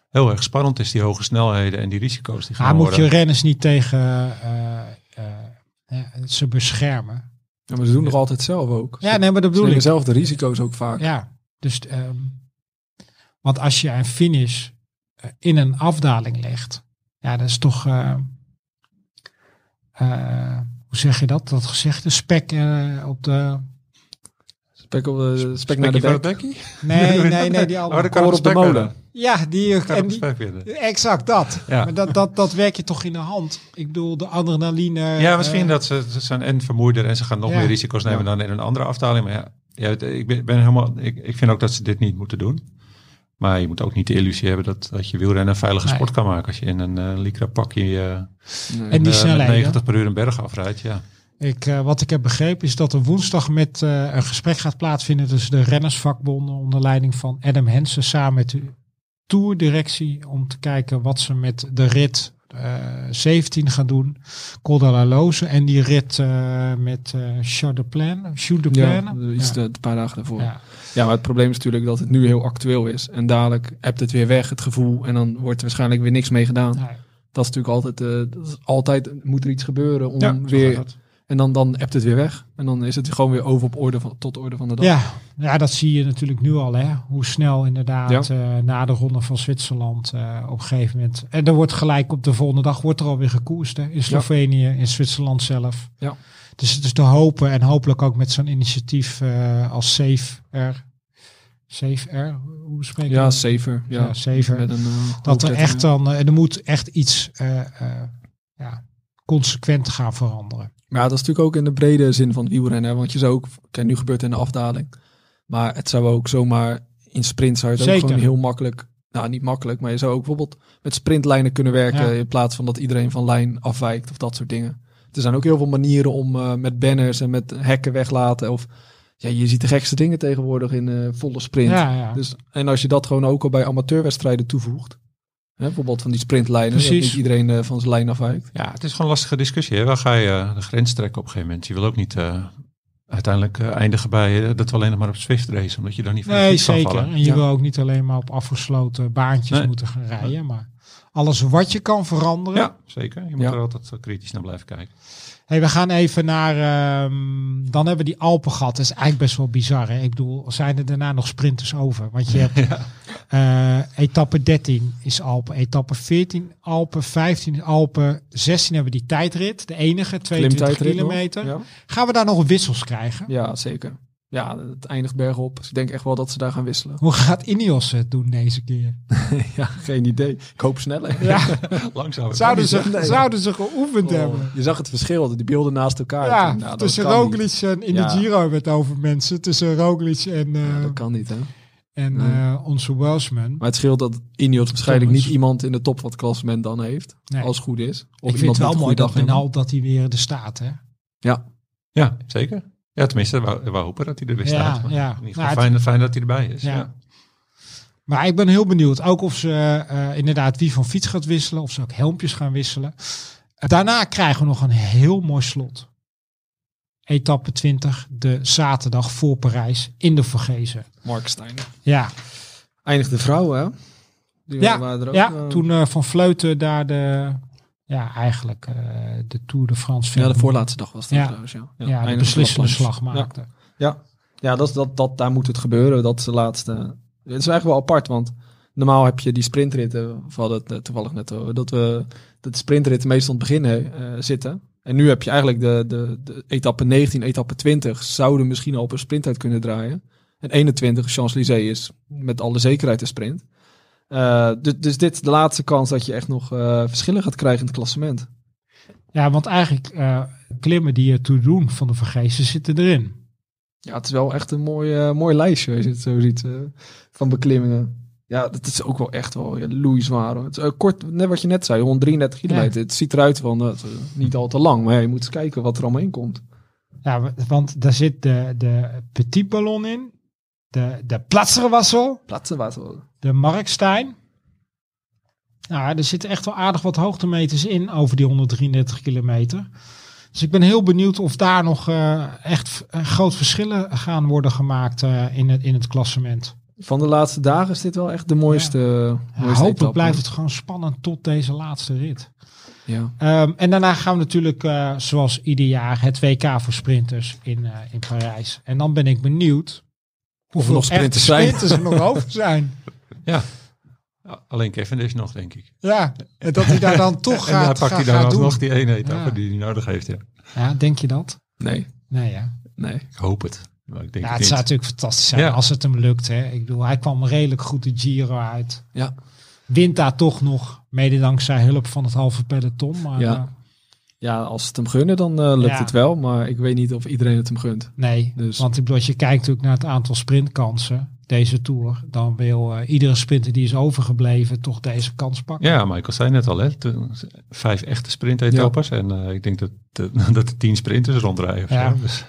[SPEAKER 2] heel erg spannend is, die hoge snelheden en die risico's die gaan
[SPEAKER 1] hij Ah, moet
[SPEAKER 2] worden.
[SPEAKER 1] je renners niet tegen eh, eh, eh, ze beschermen.
[SPEAKER 3] Ja, maar ze doen nog altijd zelf ook.
[SPEAKER 1] Ja, nee, maar dat
[SPEAKER 3] ze
[SPEAKER 1] bedoel
[SPEAKER 3] nemen
[SPEAKER 1] ik.
[SPEAKER 3] zelf de risico's ook vaak.
[SPEAKER 1] Ja, dus ehm, want als je een finish eh, in een afdaling legt, ja, dat is toch, eh, eh, hoe zeg je dat? Dat gezegde spek eh, op de.
[SPEAKER 3] Spek, op de, spek, naar de
[SPEAKER 2] Spekkie
[SPEAKER 3] bek.
[SPEAKER 2] van het bekkie?
[SPEAKER 1] Nee, nee, nee, die
[SPEAKER 2] Oh,
[SPEAKER 1] andere.
[SPEAKER 2] dan kan
[SPEAKER 3] koor
[SPEAKER 2] het
[SPEAKER 3] op de
[SPEAKER 2] spek
[SPEAKER 3] molen.
[SPEAKER 2] werden.
[SPEAKER 1] Ja, die.
[SPEAKER 2] Kan
[SPEAKER 1] En
[SPEAKER 2] het
[SPEAKER 1] die
[SPEAKER 2] spek werden.
[SPEAKER 1] exact dat.
[SPEAKER 2] Ja.
[SPEAKER 1] Maar dat, dat, dat werk je toch in de hand. Ik bedoel, de adrenaline.
[SPEAKER 2] Ja, misschien
[SPEAKER 1] eh,
[SPEAKER 2] dat ze, ze zijn en vermoeider en ze gaan nog
[SPEAKER 1] Ja.
[SPEAKER 2] meer risico's nemen
[SPEAKER 3] Ja.
[SPEAKER 2] dan in een andere afdaling. Maar ja, ja, het- ik ben, ben helemaal, ik, ik vind ook dat ze dit niet moeten doen. Maar je moet ook niet de illusie hebben dat, dat je wielrennen een veilige
[SPEAKER 1] Nee.
[SPEAKER 2] sport kan maken. Als je in een eh Lycra pakje eh,
[SPEAKER 3] Nee.
[SPEAKER 1] En die
[SPEAKER 2] eh, met
[SPEAKER 1] snelheid. hè?
[SPEAKER 2] 90 per uur een berg afrijdt. Ja.
[SPEAKER 1] Ik, eh, wat ik heb begrepen is dat er woensdag met eh, een gesprek gaat plaatsvinden tussen de rennersvakbonden onder leiding van Adam Hensen samen met de tourdirectie om te kijken wat ze met de rit eh, 17 gaan doen. Col de la Loze en die rit eh, met eh Shoot de Plan. Shoot de
[SPEAKER 3] Ja,
[SPEAKER 1] Plan.
[SPEAKER 3] iets de, een paar dagen daarvoor. Ja.
[SPEAKER 1] Ja.
[SPEAKER 3] maar het probleem is natuurlijk dat het nu heel actueel is. En dadelijk hebt het weer weg, het gevoel. En dan wordt er waarschijnlijk weer niks mee gedaan.
[SPEAKER 1] Ja.
[SPEAKER 3] Dat is natuurlijk altijd, eh, dat is altijd moet er iets gebeuren om
[SPEAKER 1] Ja, zo
[SPEAKER 3] weer...
[SPEAKER 1] gaat dat.
[SPEAKER 3] En dan, dan hebt het weer weg. En dan is het gewoon weer over op orde van, tot orde van de dag.
[SPEAKER 1] Ja, ja, dat zie je natuurlijk nu al. Hè? Hoe snel inderdaad eh, na de ronde van Zwitserland eh, op een gegeven moment. En er wordt gelijk op de volgende dag wordt er alweer gekoerst. Hè? In Slovenië, in Zwitserland zelf.
[SPEAKER 3] Ja.
[SPEAKER 1] Dus het is te hopen en hopelijk ook met zo'n initiatief eh, als Safe Air. Safe Air, hoe spreek je
[SPEAKER 3] Ja,
[SPEAKER 1] dat?
[SPEAKER 3] safer. Ja,
[SPEAKER 1] Ja, safer.
[SPEAKER 3] Met een, eh,
[SPEAKER 1] Dat er
[SPEAKER 3] hoofdletter,
[SPEAKER 1] echt
[SPEAKER 3] ja.
[SPEAKER 1] dan, eh, er moet echt iets eh, eh, ja, consequent gaan veranderen.
[SPEAKER 3] Maar ja, dat is natuurlijk ook in de brede zin van wielrennen. hè, Want je zou ook... Kijk, nu gebeurt het in de afdaling. Maar het zou ook zomaar... In sprint zou je het
[SPEAKER 1] Zeker.
[SPEAKER 3] ook gewoon heel makkelijk... Nou, niet makkelijk, maar je zou ook bijvoorbeeld met sprintlijnen kunnen werken...
[SPEAKER 1] Ja.
[SPEAKER 3] in plaats van dat iedereen van lijn afwijkt of dat soort dingen. Er zijn ook heel veel manieren om eh, met banners en met hekken weglaten. Of ja, je ziet de gekste dingen tegenwoordig in eh, volle sprint.
[SPEAKER 1] Ja, ja.
[SPEAKER 3] Dus, en als je dat gewoon ook al bij amateurwedstrijden toevoegt. Hè, bijvoorbeeld van die sprintlijnen, dat
[SPEAKER 1] Precies.
[SPEAKER 3] niet iedereen eh, van zijn lijn afwijkt.
[SPEAKER 2] Ja, het is gewoon een lastige discussie. Hè? Waar ga je eh, de grens trekken op een gegeven moment? Je wil ook niet eh, uiteindelijk eh, eindigen bij eh, dat we alleen nog maar op Swift racen. Omdat je dan niet van de
[SPEAKER 1] Nee,
[SPEAKER 2] fiets kan
[SPEAKER 1] zeker.
[SPEAKER 2] vallen.
[SPEAKER 1] En je
[SPEAKER 3] Ja.
[SPEAKER 1] wil ook niet alleen maar op afgesloten baantjes
[SPEAKER 2] Nee.
[SPEAKER 1] moeten gaan rijden, maar alles wat je kan veranderen.
[SPEAKER 2] Ja, zeker. Je moet
[SPEAKER 3] Ja.
[SPEAKER 2] er altijd eh, kritisch naar blijven kijken.
[SPEAKER 1] Hey, we gaan even naar, ehm, dan hebben we die Alpen gehad. Dat is eigenlijk best wel bizar. Hè? Ik bedoel, zijn er daarna nog sprinters over? Want je hebt eh, etappe 13 is Alpen, etappe 14 Alpen, 15 Alpen, 16 hebben we die tijdrit. De enige, 22
[SPEAKER 3] Klimtijdrit nog,
[SPEAKER 1] kilometer.
[SPEAKER 3] Ja.
[SPEAKER 1] Gaan we daar nog wissels krijgen?
[SPEAKER 3] ja, zeker. Ja, het eindigt bergop. Dus ik denk echt wel dat ze daar gaan wisselen.
[SPEAKER 1] Hoe gaat Ineos het doen deze keer?
[SPEAKER 3] ja, geen idee. Ik hoop sneller.
[SPEAKER 1] Ja,
[SPEAKER 2] Langzaam.
[SPEAKER 1] zouden, ze,
[SPEAKER 3] Nee.
[SPEAKER 1] zouden ze geoefend hebben?
[SPEAKER 3] Oh, je zag het verschil, die beelden naast elkaar.
[SPEAKER 1] Ja,
[SPEAKER 3] Nou, dat
[SPEAKER 1] tussen
[SPEAKER 3] kan
[SPEAKER 1] Roglic en in
[SPEAKER 3] Ja.
[SPEAKER 1] de Giro hebben we het over mensen. Tussen Roglic en, eh,
[SPEAKER 3] niet. Ja, dat kan niet, hè.
[SPEAKER 1] en
[SPEAKER 3] Nee.
[SPEAKER 1] eh, onze Welshman.
[SPEAKER 3] Maar het scheelt dat Ineos waarschijnlijk
[SPEAKER 1] Thomas.
[SPEAKER 3] niet iemand in de top van het klassement dan heeft.
[SPEAKER 1] Nee.
[SPEAKER 3] Als het goed is. Of
[SPEAKER 1] ik vind het wel mooi dat
[SPEAKER 3] al
[SPEAKER 1] Benal dat hij weer er staat. Hè?
[SPEAKER 2] Ja, zeker. Ja, tenminste, we, we hopen dat hij er weer
[SPEAKER 1] Ja,
[SPEAKER 2] staat. maar
[SPEAKER 1] ja.
[SPEAKER 2] In ieder
[SPEAKER 1] Nou,
[SPEAKER 2] geval
[SPEAKER 1] het-
[SPEAKER 2] fijn, fijn dat hij erbij is.
[SPEAKER 1] Ja.
[SPEAKER 2] Ja.
[SPEAKER 1] Maar ik ben heel benieuwd. Ook of ze eh, eh, inderdaad wie van fiets gaat wisselen. Of ze ook helmpjes gaan wisselen. Daarna krijgen we nog een heel mooi slot. Etappe 20, de zaterdag voor Parijs in de Vorgezen.
[SPEAKER 3] Mark Steiner.
[SPEAKER 1] Ja,
[SPEAKER 3] Eindigt de vrouwen, hè? Die
[SPEAKER 1] Ja,
[SPEAKER 3] waren er ook,
[SPEAKER 1] ja
[SPEAKER 3] eh,
[SPEAKER 1] toen eh, Van Vleuten daar de, ja, eigenlijk eh, de Tour de France
[SPEAKER 3] Ja, de
[SPEAKER 1] finale
[SPEAKER 3] voorlaatste dag was dat
[SPEAKER 1] Ja.
[SPEAKER 3] trouwens, ja.
[SPEAKER 1] ja, de
[SPEAKER 3] eindigde
[SPEAKER 1] beslissende
[SPEAKER 3] knap langs.
[SPEAKER 1] slag maakte.
[SPEAKER 3] Ja, dat, is- dat, dat, daar moet het gebeuren. Dat is de laatste. Het is eigenlijk wel apart, want normaal heb je die sprintritten. We hadden het eh, toevallig net over. Dat, we, dat de sprintritten meestal aan het begin eh, zitten. En nu heb je eigenlijk de, de, de etappe 19, etappe 20. Zouden misschien al op een sprint uit kunnen draaien. En 21, Champs-Élysées is met alle zekerheid een sprint. Eh, dus, dus dit is de laatste kans dat je echt nog eh, verschillen gaat krijgen in het klassement.
[SPEAKER 1] Ja, want eigenlijk eh, klimmen die ertoe doen van de vergezen zitten erin.
[SPEAKER 3] Ja, het is wel echt een mooi, eh, mooi lijstje, als je het zo ziet, eh, van beklimmingen. Ja, dat is ook wel echt wel ja, loeizwaar. hoor. Het is eh, kort, net wat je net zei, 133 kilometer. Het ziet eruit van, eh, het is niet al te lang, maar ja, je moet eens kijken wat er allemaal in komt.
[SPEAKER 1] Ja, wa- want daar zit de, de Petit Ballon in, de, de Platzerwassel,
[SPEAKER 3] Plattenwater.
[SPEAKER 1] de Markstein. Nou, er zitten echt wel aardig wat hoogtemeters in over die 133 kilometer. Dus ik ben heel benieuwd of daar nog eh, echt v- eh, groot verschillen gaan worden gemaakt eh, in, het, in het klassement.
[SPEAKER 3] Van de laatste dagen is dit wel echt de mooiste, eh,
[SPEAKER 1] Ja,
[SPEAKER 3] mooiste
[SPEAKER 1] hopelijk
[SPEAKER 3] etappe.
[SPEAKER 1] blijft het gewoon spannend tot deze laatste rit.
[SPEAKER 3] Ja.
[SPEAKER 1] Ehm, en daarna gaan we natuurlijk, eh, zoals ieder jaar, het WK voor sprinters in, eh, in Parijs. En dan ben ik benieuwd hoeveel
[SPEAKER 3] nog sprinters
[SPEAKER 1] echte
[SPEAKER 3] zijn.
[SPEAKER 1] sprinters er nog over zijn.
[SPEAKER 2] Alleen Kevin is nog, denk ik.
[SPEAKER 1] Ja, en dat hij daar dan toch
[SPEAKER 2] en daar
[SPEAKER 1] gaat,
[SPEAKER 2] pakt
[SPEAKER 1] gaat,
[SPEAKER 2] hij dan
[SPEAKER 1] gaat doen.
[SPEAKER 2] alsnog die ene etappe
[SPEAKER 1] Ja.
[SPEAKER 2] die hij nodig heeft. Ja.
[SPEAKER 1] Ja, denk je dat?
[SPEAKER 3] Nee,
[SPEAKER 1] Nee, ja.
[SPEAKER 3] nee.
[SPEAKER 2] Ik hoop het. Maar ik denk
[SPEAKER 1] ja Nou, het
[SPEAKER 2] het niet.
[SPEAKER 1] zou natuurlijk fantastisch zijn
[SPEAKER 2] Ja.
[SPEAKER 1] als het hem lukt. Hè. Ik bedoel, hij kwam redelijk goed de Giro uit.
[SPEAKER 3] Ja.
[SPEAKER 1] Wint daar toch nog, mede dankzij hulp van het halve peloton. Maar
[SPEAKER 3] Ja.
[SPEAKER 1] eh,
[SPEAKER 3] Ja, als het hem gunnen, dan eh, lukt
[SPEAKER 1] Ja.
[SPEAKER 3] het wel. Maar ik weet niet of iedereen het hem gunt.
[SPEAKER 1] Nee,
[SPEAKER 3] Dus-
[SPEAKER 1] want ik bedoel, als je kijkt natuurlijk naar het aantal sprintkansen deze Tour, dan wil eh, iedere sprinter die is overgebleven toch deze kans pakken.
[SPEAKER 2] Ja, Michael zei net al, hè, toen- vijf echte sprintetappes. En eh, ik denk dat, dat, dat er tien sprinters rondrijden. of
[SPEAKER 1] Ja.
[SPEAKER 2] zo. Dus,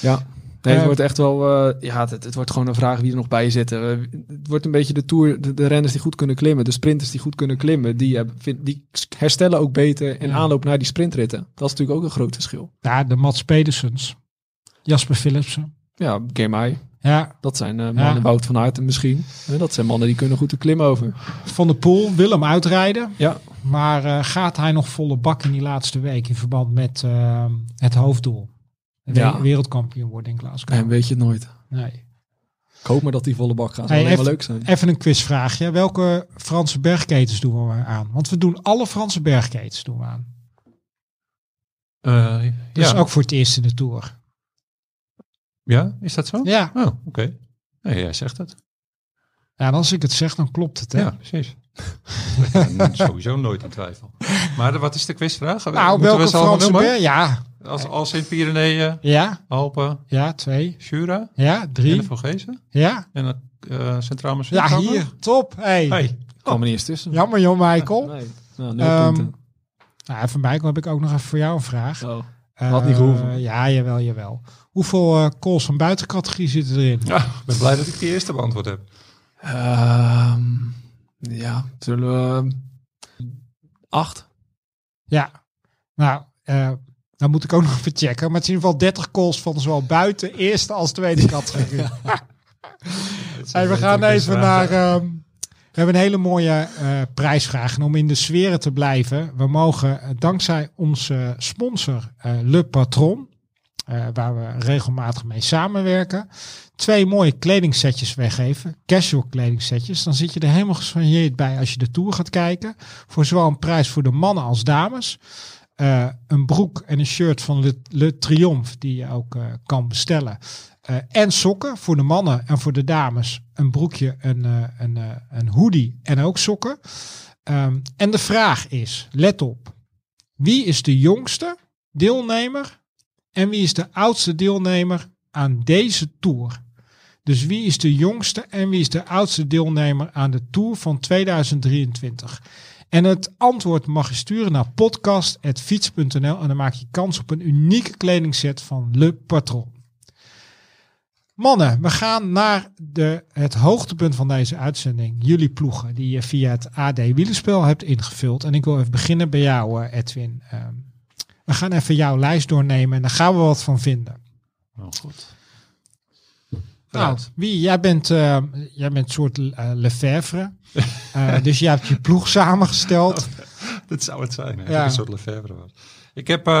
[SPEAKER 3] Ja. Nee, het
[SPEAKER 1] Eh,
[SPEAKER 3] wordt echt wel. eh, ja, het, het wordt gewoon een vraag wie er nog bij zit. Eh, het wordt een beetje de tour. De, de renners die goed kunnen klimmen, de sprinters die goed kunnen klimmen, die, hebben- vind- die herstellen ook beter in
[SPEAKER 1] Ja.
[SPEAKER 3] aanloop naar die sprintritten. Dat is natuurlijk ook een groot verschil.
[SPEAKER 1] Ja, de Mats Pedersens, Jasper Philipsen.
[SPEAKER 3] Ja, Gemai.
[SPEAKER 1] Ja,
[SPEAKER 3] Dat zijn eh, mannen Wout van Aert misschien. Eh, dat zijn mannen die kunnen goed de klim over.
[SPEAKER 1] Van der Poel wil hem uitrijden,
[SPEAKER 3] Ja,
[SPEAKER 1] maar eh, gaat hij nog volle bak in die laatste week in verband met eh, het hoofddoel? We-
[SPEAKER 3] Ja.
[SPEAKER 1] Wereldkampioen worden in Glasgow.
[SPEAKER 3] en weet je het nooit.
[SPEAKER 1] Nee.
[SPEAKER 3] Ik hoop maar dat die volle bak gaat. Dat zou
[SPEAKER 1] Hey,
[SPEAKER 3] alleen maar
[SPEAKER 1] even-
[SPEAKER 3] leuk zijn.
[SPEAKER 1] Even een quizvraagje. Welke Franse bergketens doen we aan? Want we doen alle Franse bergketens doen we aan.
[SPEAKER 2] eh,
[SPEAKER 1] Dat
[SPEAKER 2] ja.
[SPEAKER 1] is dus ook voor het eerst in de Tour.
[SPEAKER 2] ja, is dat zo?
[SPEAKER 1] Ja,
[SPEAKER 2] Oh, oké. Nee, jij zegt het.
[SPEAKER 1] ja en als ik het zeg, dan klopt het. Hè?
[SPEAKER 2] Ja, precies. Ik ben sowieso nooit in twijfel. Maar wat is de quizvraag?
[SPEAKER 1] Nou,
[SPEAKER 2] Moeten
[SPEAKER 1] welke
[SPEAKER 2] ze allemaal
[SPEAKER 1] Franse
[SPEAKER 2] noemen?
[SPEAKER 1] berg? Ja,
[SPEAKER 2] Als, als in Pyreneeën,
[SPEAKER 1] ja,
[SPEAKER 2] Alpen,
[SPEAKER 1] ja, twee,
[SPEAKER 2] Jura,
[SPEAKER 1] ja, drie,
[SPEAKER 2] Gezen
[SPEAKER 1] ja.
[SPEAKER 2] en dan, eh Centraal Museum.
[SPEAKER 1] Ja, hier, top. Hey.
[SPEAKER 2] Hey.
[SPEAKER 3] kwam er niet eens tussen.
[SPEAKER 1] Jammer joh, Michael.
[SPEAKER 3] Nee. Nou, nul
[SPEAKER 1] Ehm,
[SPEAKER 3] punten.
[SPEAKER 1] Nou, van Michael heb ik ook nog even voor jou een vraag.
[SPEAKER 3] Oh.
[SPEAKER 1] Eh,
[SPEAKER 3] had niet gehoeven.
[SPEAKER 1] Ja, jawel, jawel. Hoeveel eh calls van buitencategorie zitten erin?
[SPEAKER 2] Ja, Ah, ik ben blij dat ik die eerste beantwoord heb.
[SPEAKER 3] Ehm, ja, zullen we... ehm, Acht.
[SPEAKER 1] Ja. Nou, eh dan moet ik ook nog even checken. Maar het is in ieder geval 30 calls van zowel buiten, eerste als tweede categorie. Hey, we gaan even naar. ehm, we hebben een hele mooie eh, prijsvraag. En om in de sferen te blijven, we mogen eh, dankzij onze sponsor eh, Le Patron, eh, waar we regelmatig mee samenwerken, twee mooie kledingsetjes weggeven. Casual kledingsetjes. Dan zit je er helemaal gesoigneerd bij als je de tour gaat kijken. Voor zowel een prijs voor de mannen als dames. Eh, een broek en een shirt van Le, Le Triomphe, die je ook eh, kan bestellen. Eh, en sokken voor de mannen en voor de dames. Een broekje, een, eh, een, eh, een hoodie en ook sokken. Ehm, en de vraag is, let op. Wie is de jongste deelnemer en wie is de oudste deelnemer aan deze tour? Dus wie is de jongste en wie is de oudste deelnemer aan de tour van 2023? En het antwoord mag je sturen naar podcast.fiets.nl en dan maak je kans op een unieke kledingset van Le Patron. Mannen, we gaan naar de, het hoogtepunt van deze uitzending. Jullie ploegen die je via het AD Wielenspel hebt ingevuld. En ik wil even beginnen bij jou, eh, Edwin. Ehm, we gaan even jouw lijst doornemen en daar gaan we wat van vinden.
[SPEAKER 2] Oh, goed.
[SPEAKER 1] eh, Nou, wie? Jij bent, eh, jij bent een soort eh Lefevre. Eh, dus jij hebt je ploeg
[SPEAKER 2] Oh.
[SPEAKER 1] samengesteld.
[SPEAKER 2] Dat zou het zijn. Hè?
[SPEAKER 1] Ja.
[SPEAKER 2] Dat een soort Lefebvre was. Ik heb, eh,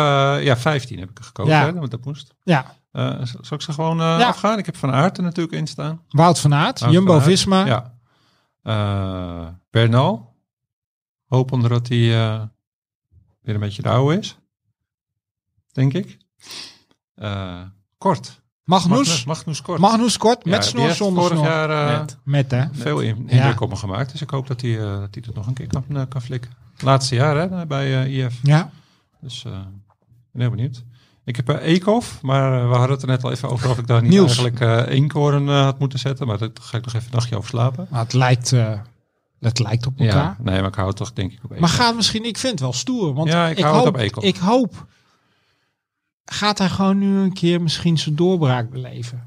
[SPEAKER 2] ja, 15 heb ik gekozen,
[SPEAKER 1] Ja.
[SPEAKER 2] hè, want dat moest.
[SPEAKER 1] Ja,
[SPEAKER 2] Eh, z- zal ik ze gewoon eh,
[SPEAKER 1] Ja.
[SPEAKER 2] afgaan? Ik heb Van Aert er natuurlijk in staan.
[SPEAKER 1] Wout van Aert,
[SPEAKER 2] Wout van Aert,
[SPEAKER 1] Jumbo-Visma.
[SPEAKER 2] Ja. Eh, Bernal. Hopend dat hij eh, weer een beetje de oude is. Denk ik. Eh, kort.
[SPEAKER 1] Magnus.
[SPEAKER 2] Magnus Kort.
[SPEAKER 1] Magnus Kort,
[SPEAKER 2] Ja,
[SPEAKER 1] met
[SPEAKER 2] die
[SPEAKER 1] snor,
[SPEAKER 2] heeft
[SPEAKER 1] zonder
[SPEAKER 2] vorig
[SPEAKER 1] snor.
[SPEAKER 2] jaar eh,
[SPEAKER 3] Net.
[SPEAKER 1] Met, hè?
[SPEAKER 2] veel in, indruk
[SPEAKER 1] Ja.
[SPEAKER 2] op me gemaakt. Dus ik hoop dat hij, eh, dat hij dat nog een keer kan, eh, kan flikken. Laatste jaar hè, bij eh, IF.
[SPEAKER 1] Ja.
[SPEAKER 2] Dus eh, ik ben heel benieuwd. Ik heb eh Eekhof, maar eh, we hadden het er net al even over of ik daar niet
[SPEAKER 1] Niels.
[SPEAKER 2] eigenlijk eh eenkoren eh, had moeten zetten. Maar daar ga ik nog even een nachtje over slapen.
[SPEAKER 1] Maar het lijkt, eh, het lijkt op elkaar.
[SPEAKER 2] Ja, nee, maar ik hou het toch denk ik op Eekhof.
[SPEAKER 1] Maar gaat misschien, ik vind het wel stoer. Want
[SPEAKER 2] Ja, ik
[SPEAKER 1] ik,
[SPEAKER 2] hou het
[SPEAKER 1] hoop,
[SPEAKER 2] op Eekhof.
[SPEAKER 1] ik hoop, gaat hij gewoon nu een keer misschien zijn doorbraak beleven?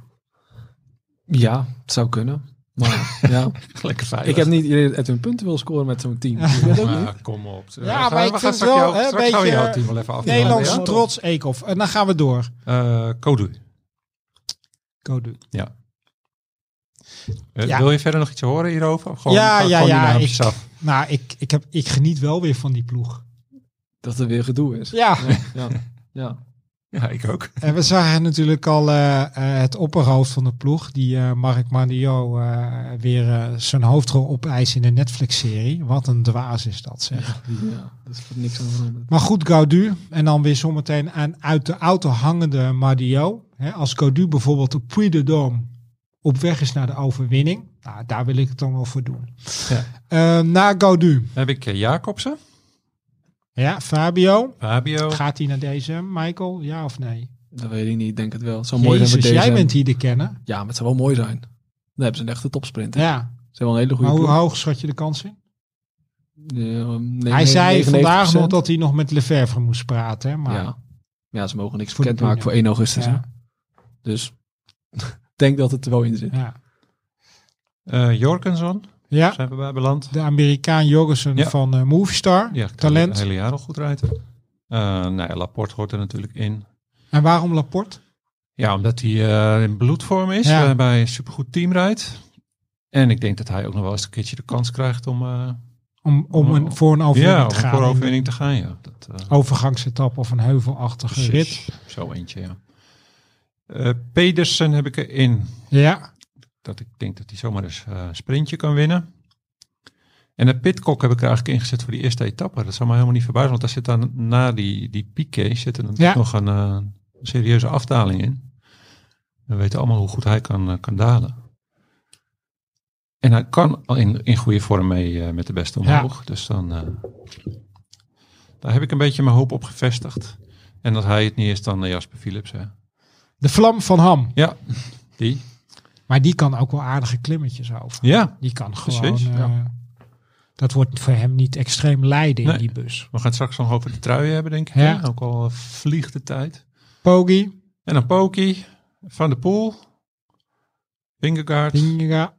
[SPEAKER 3] Ja, het zou kunnen. Maar ja,
[SPEAKER 2] Lekker veilig.
[SPEAKER 3] ik heb niet iedereen dat hun punten wil scoren met zo'n team. Ik weet het ook niet.
[SPEAKER 2] Ah, kom op. Ja,
[SPEAKER 1] maar ik vind het wel, hè,
[SPEAKER 2] straks gaan we
[SPEAKER 1] beetje,
[SPEAKER 2] jouw team wel even af.
[SPEAKER 1] Nederlandse
[SPEAKER 3] ja.
[SPEAKER 1] trots, Eekhof. En dan gaan we door.
[SPEAKER 2] Eh, Kodu.
[SPEAKER 1] Kodu.
[SPEAKER 2] Eh,
[SPEAKER 1] Ja.
[SPEAKER 2] Wil je verder nog iets horen hierover? Of Gewoon,
[SPEAKER 1] Ja,
[SPEAKER 2] gewoon
[SPEAKER 1] ja,
[SPEAKER 2] die
[SPEAKER 1] ja,
[SPEAKER 2] naampjes
[SPEAKER 1] ik-
[SPEAKER 2] af.
[SPEAKER 1] Nou, ik, ik, heb, ik geniet wel weer van die ploeg.
[SPEAKER 3] Dat er weer gedoe is.
[SPEAKER 1] Ja,
[SPEAKER 3] Ja, ja.
[SPEAKER 2] Ja, ik ook.
[SPEAKER 1] en we zagen natuurlijk al eh, eh, het opperhoofd van de ploeg, die eh, Marc Mandio eh, weer eh, zijn hoofdrol opeist in de Netflix-serie. Wat een dwaas is dat, zeg.
[SPEAKER 3] ja. Dat is voor niks aan veranderd.
[SPEAKER 1] Maar goed, Gaudu. En dan weer zometeen aan uit de auto hangende Mario. Hè, als Gaudu bijvoorbeeld op Puy de Dôme op weg is naar de overwinning. Nou, daar wil ik het dan wel voor doen.
[SPEAKER 2] Ja.
[SPEAKER 1] Eh, naar Gaudu.
[SPEAKER 2] Dan heb ik eh, Jacobsen.
[SPEAKER 1] Ja, Fabio.
[SPEAKER 2] Fabio.
[SPEAKER 1] Gaat hij naar deze, Michael? Ja of nee?
[SPEAKER 3] Dat weet ik niet, ik denk het wel. Het zou mooi
[SPEAKER 1] Jezus,
[SPEAKER 3] zijn met deze.
[SPEAKER 1] jij bent hier de kenner.
[SPEAKER 3] Ja, maar het zou wel mooi zijn. Dan hebben ze een echte topsprint. hè.
[SPEAKER 1] Ja,
[SPEAKER 3] Ze hebben wel een hele
[SPEAKER 1] maar
[SPEAKER 3] goede
[SPEAKER 1] hoe
[SPEAKER 3] ploeg.
[SPEAKER 1] hoog schat je de kans in?
[SPEAKER 3] Ja, um,
[SPEAKER 1] hij zei
[SPEAKER 3] 99%.
[SPEAKER 1] vandaag nog dat hij nog met Lefevre moest praten. hè, Maar
[SPEAKER 3] Ja. ja, ze mogen niks
[SPEAKER 1] Voor de
[SPEAKER 3] bekendmaken voor 1 augustus. hè.
[SPEAKER 1] ja,
[SPEAKER 3] Dus ik denk dat het er wel in zit.
[SPEAKER 1] ja.
[SPEAKER 2] eh Jorgensen
[SPEAKER 1] Ja,
[SPEAKER 2] zijn we bij beland.
[SPEAKER 1] de Amerikaan Jorgensen
[SPEAKER 2] Ja.
[SPEAKER 1] van eh, Movistar.
[SPEAKER 2] Ja, kan
[SPEAKER 1] Talent.
[SPEAKER 2] Het hele jaar al goed rijden. Eh nou ja, Laporte hoort er natuurlijk in.
[SPEAKER 1] En waarom Laporte?
[SPEAKER 2] Ja, omdat hij eh, in bloedvorm is,
[SPEAKER 1] Ja.
[SPEAKER 2] eh, bij een supergoed team rijdt. En ik denk dat hij ook nog wel eens een keertje de kans krijgt om, eh
[SPEAKER 1] Om, om een, voor een overwinning
[SPEAKER 2] Oh. ja, om
[SPEAKER 1] te gaan.
[SPEAKER 2] voor overwinning te gaan. Ja. Dat, eh,
[SPEAKER 1] Overgangsetappe of een heuvelachtige rit.
[SPEAKER 2] precies. Zo eentje, ja. Eh, Pedersen heb ik erin.
[SPEAKER 1] Ja,
[SPEAKER 2] Dat ik denk dat hij zomaar eens eh, een sprintje kan winnen. En de Pitcock heb ik er eigenlijk ingezet voor die eerste etappe. Dat zou mij helemaal niet verbazen, want daar zit dan na die, die piqué zit er natuurlijk
[SPEAKER 1] Ja.
[SPEAKER 2] nog een eh, serieuze afdaling in. We weten allemaal hoe goed hij kan, eh, kan dalen. En hij kan al in, in goede vorm mee eh, met de beste omhoog. Dus dan, eh, daar heb ik een beetje mijn hoop op gevestigd. En dat hij het niet is dan eh, Jasper Philips. Hè.
[SPEAKER 1] de vlam van Ham.
[SPEAKER 2] Ja, die.
[SPEAKER 1] Maar die kan ook wel aardige klimmetjes over.
[SPEAKER 2] Ja,
[SPEAKER 1] Die kan
[SPEAKER 2] Precies,
[SPEAKER 1] gewoon... eh, Dat wordt voor hem niet extreem lijden in
[SPEAKER 2] Nee.
[SPEAKER 1] die bus.
[SPEAKER 2] We gaan het straks nog over de truien hebben, denk ik.
[SPEAKER 1] Ja.
[SPEAKER 2] hè? Ook al eh, vliegt de tijd.
[SPEAKER 1] Pogi,
[SPEAKER 2] En dan Poki, Van der Poel, Vingegaard.
[SPEAKER 1] Dinga.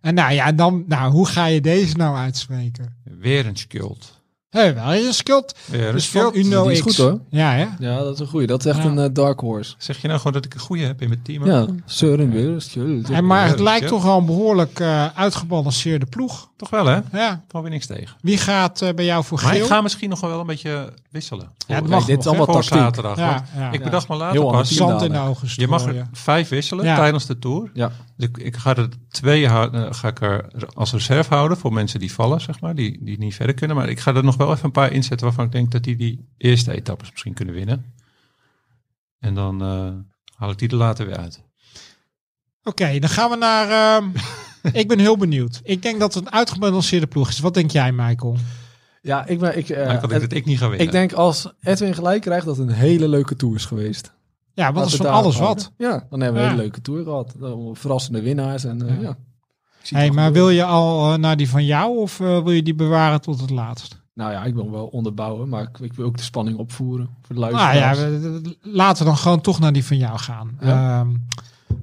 [SPEAKER 1] En nou ja, dan, nou, hoe ga je deze nou uitspreken?
[SPEAKER 2] Weer een skuld.
[SPEAKER 1] Hé, wel is een skuld.
[SPEAKER 2] Weer een
[SPEAKER 1] Dus
[SPEAKER 2] skuld.
[SPEAKER 1] van Uno
[SPEAKER 3] Die is
[SPEAKER 1] X.
[SPEAKER 3] goed, hoor.
[SPEAKER 1] Ja, hè?
[SPEAKER 3] Ja, dat is een goeie. Dat is echt
[SPEAKER 1] Ja.
[SPEAKER 3] een eh, dark horse.
[SPEAKER 2] Zeg je nou gewoon dat ik een goede heb in mijn team?
[SPEAKER 3] Ja, Søren Wils.
[SPEAKER 1] En maar het
[SPEAKER 2] Ja,
[SPEAKER 1] lijkt
[SPEAKER 2] ja.
[SPEAKER 1] toch al een behoorlijk eh, uitgebalanceerde ploeg.
[SPEAKER 2] Toch wel, hè?
[SPEAKER 1] Ja.
[SPEAKER 2] Gewoon weer niks tegen.
[SPEAKER 1] Wie gaat eh, bij jou voor
[SPEAKER 2] Maar ik
[SPEAKER 1] geel?
[SPEAKER 2] ga misschien nog wel een beetje wisselen.
[SPEAKER 1] Ja, dat
[SPEAKER 2] Voor-
[SPEAKER 1] mag
[SPEAKER 2] Kijk,
[SPEAKER 1] nog,
[SPEAKER 2] dit is allemaal
[SPEAKER 3] hè?
[SPEAKER 2] voor
[SPEAKER 3] tactiek.
[SPEAKER 2] zaterdag.
[SPEAKER 1] Ja,
[SPEAKER 2] want
[SPEAKER 1] ja.
[SPEAKER 2] Ik
[SPEAKER 3] Ja.
[SPEAKER 2] bedacht me later
[SPEAKER 3] Heel
[SPEAKER 2] pas.
[SPEAKER 3] anders.
[SPEAKER 1] Zand in de
[SPEAKER 3] dadelijk.
[SPEAKER 1] ogen
[SPEAKER 2] Je mag er
[SPEAKER 1] strooien.
[SPEAKER 2] vijf wisselen
[SPEAKER 1] Ja.
[SPEAKER 2] tijdens de Tour.
[SPEAKER 3] Ja.
[SPEAKER 2] Dus ik, ik ga er twee hou- eh, ga ik er als reserve houden voor mensen die vallen, zeg maar, die, die niet verder kunnen. Maar ik ga er nog wel even een paar inzetten waarvan ik denk dat die die eerste etappes misschien kunnen winnen. En dan eh, haal ik die er later weer uit.
[SPEAKER 1] Oké, dan gaan we naar... ehm, ik ben heel benieuwd. Ik denk dat het een uitgebalanceerde ploeg is. Wat denk jij, Michael?
[SPEAKER 3] Ja, ik, ben, ik, eh,
[SPEAKER 2] Eigenlijk had ik
[SPEAKER 3] het-
[SPEAKER 2] dat ik niet ga winnen.
[SPEAKER 3] ik denk als Edwin gelijk krijgt, dat het een hele leuke tour is geweest.
[SPEAKER 1] Ja, want dat
[SPEAKER 3] Laten
[SPEAKER 1] is
[SPEAKER 3] we
[SPEAKER 1] van
[SPEAKER 3] daarop
[SPEAKER 1] alles
[SPEAKER 3] houden.
[SPEAKER 1] wat.
[SPEAKER 3] Ja, dan hebben we
[SPEAKER 1] Ja.
[SPEAKER 3] een hele leuke tour gehad. Allemaal Verrassende winnaars. En, eh,
[SPEAKER 1] Ja.
[SPEAKER 3] ja.
[SPEAKER 1] Hey, maar wil je al eh, naar die van jou of eh, wil je die bewaren tot het laatst?
[SPEAKER 3] Nou ja, ik wil hem wel onderbouwen, maar ik, ik wil ook de spanning opvoeren voor de
[SPEAKER 1] Nou ja,
[SPEAKER 3] luisteraars.
[SPEAKER 1] we- we- laten we dan gewoon toch naar die van jou gaan.
[SPEAKER 3] Ja.
[SPEAKER 1] Ehm,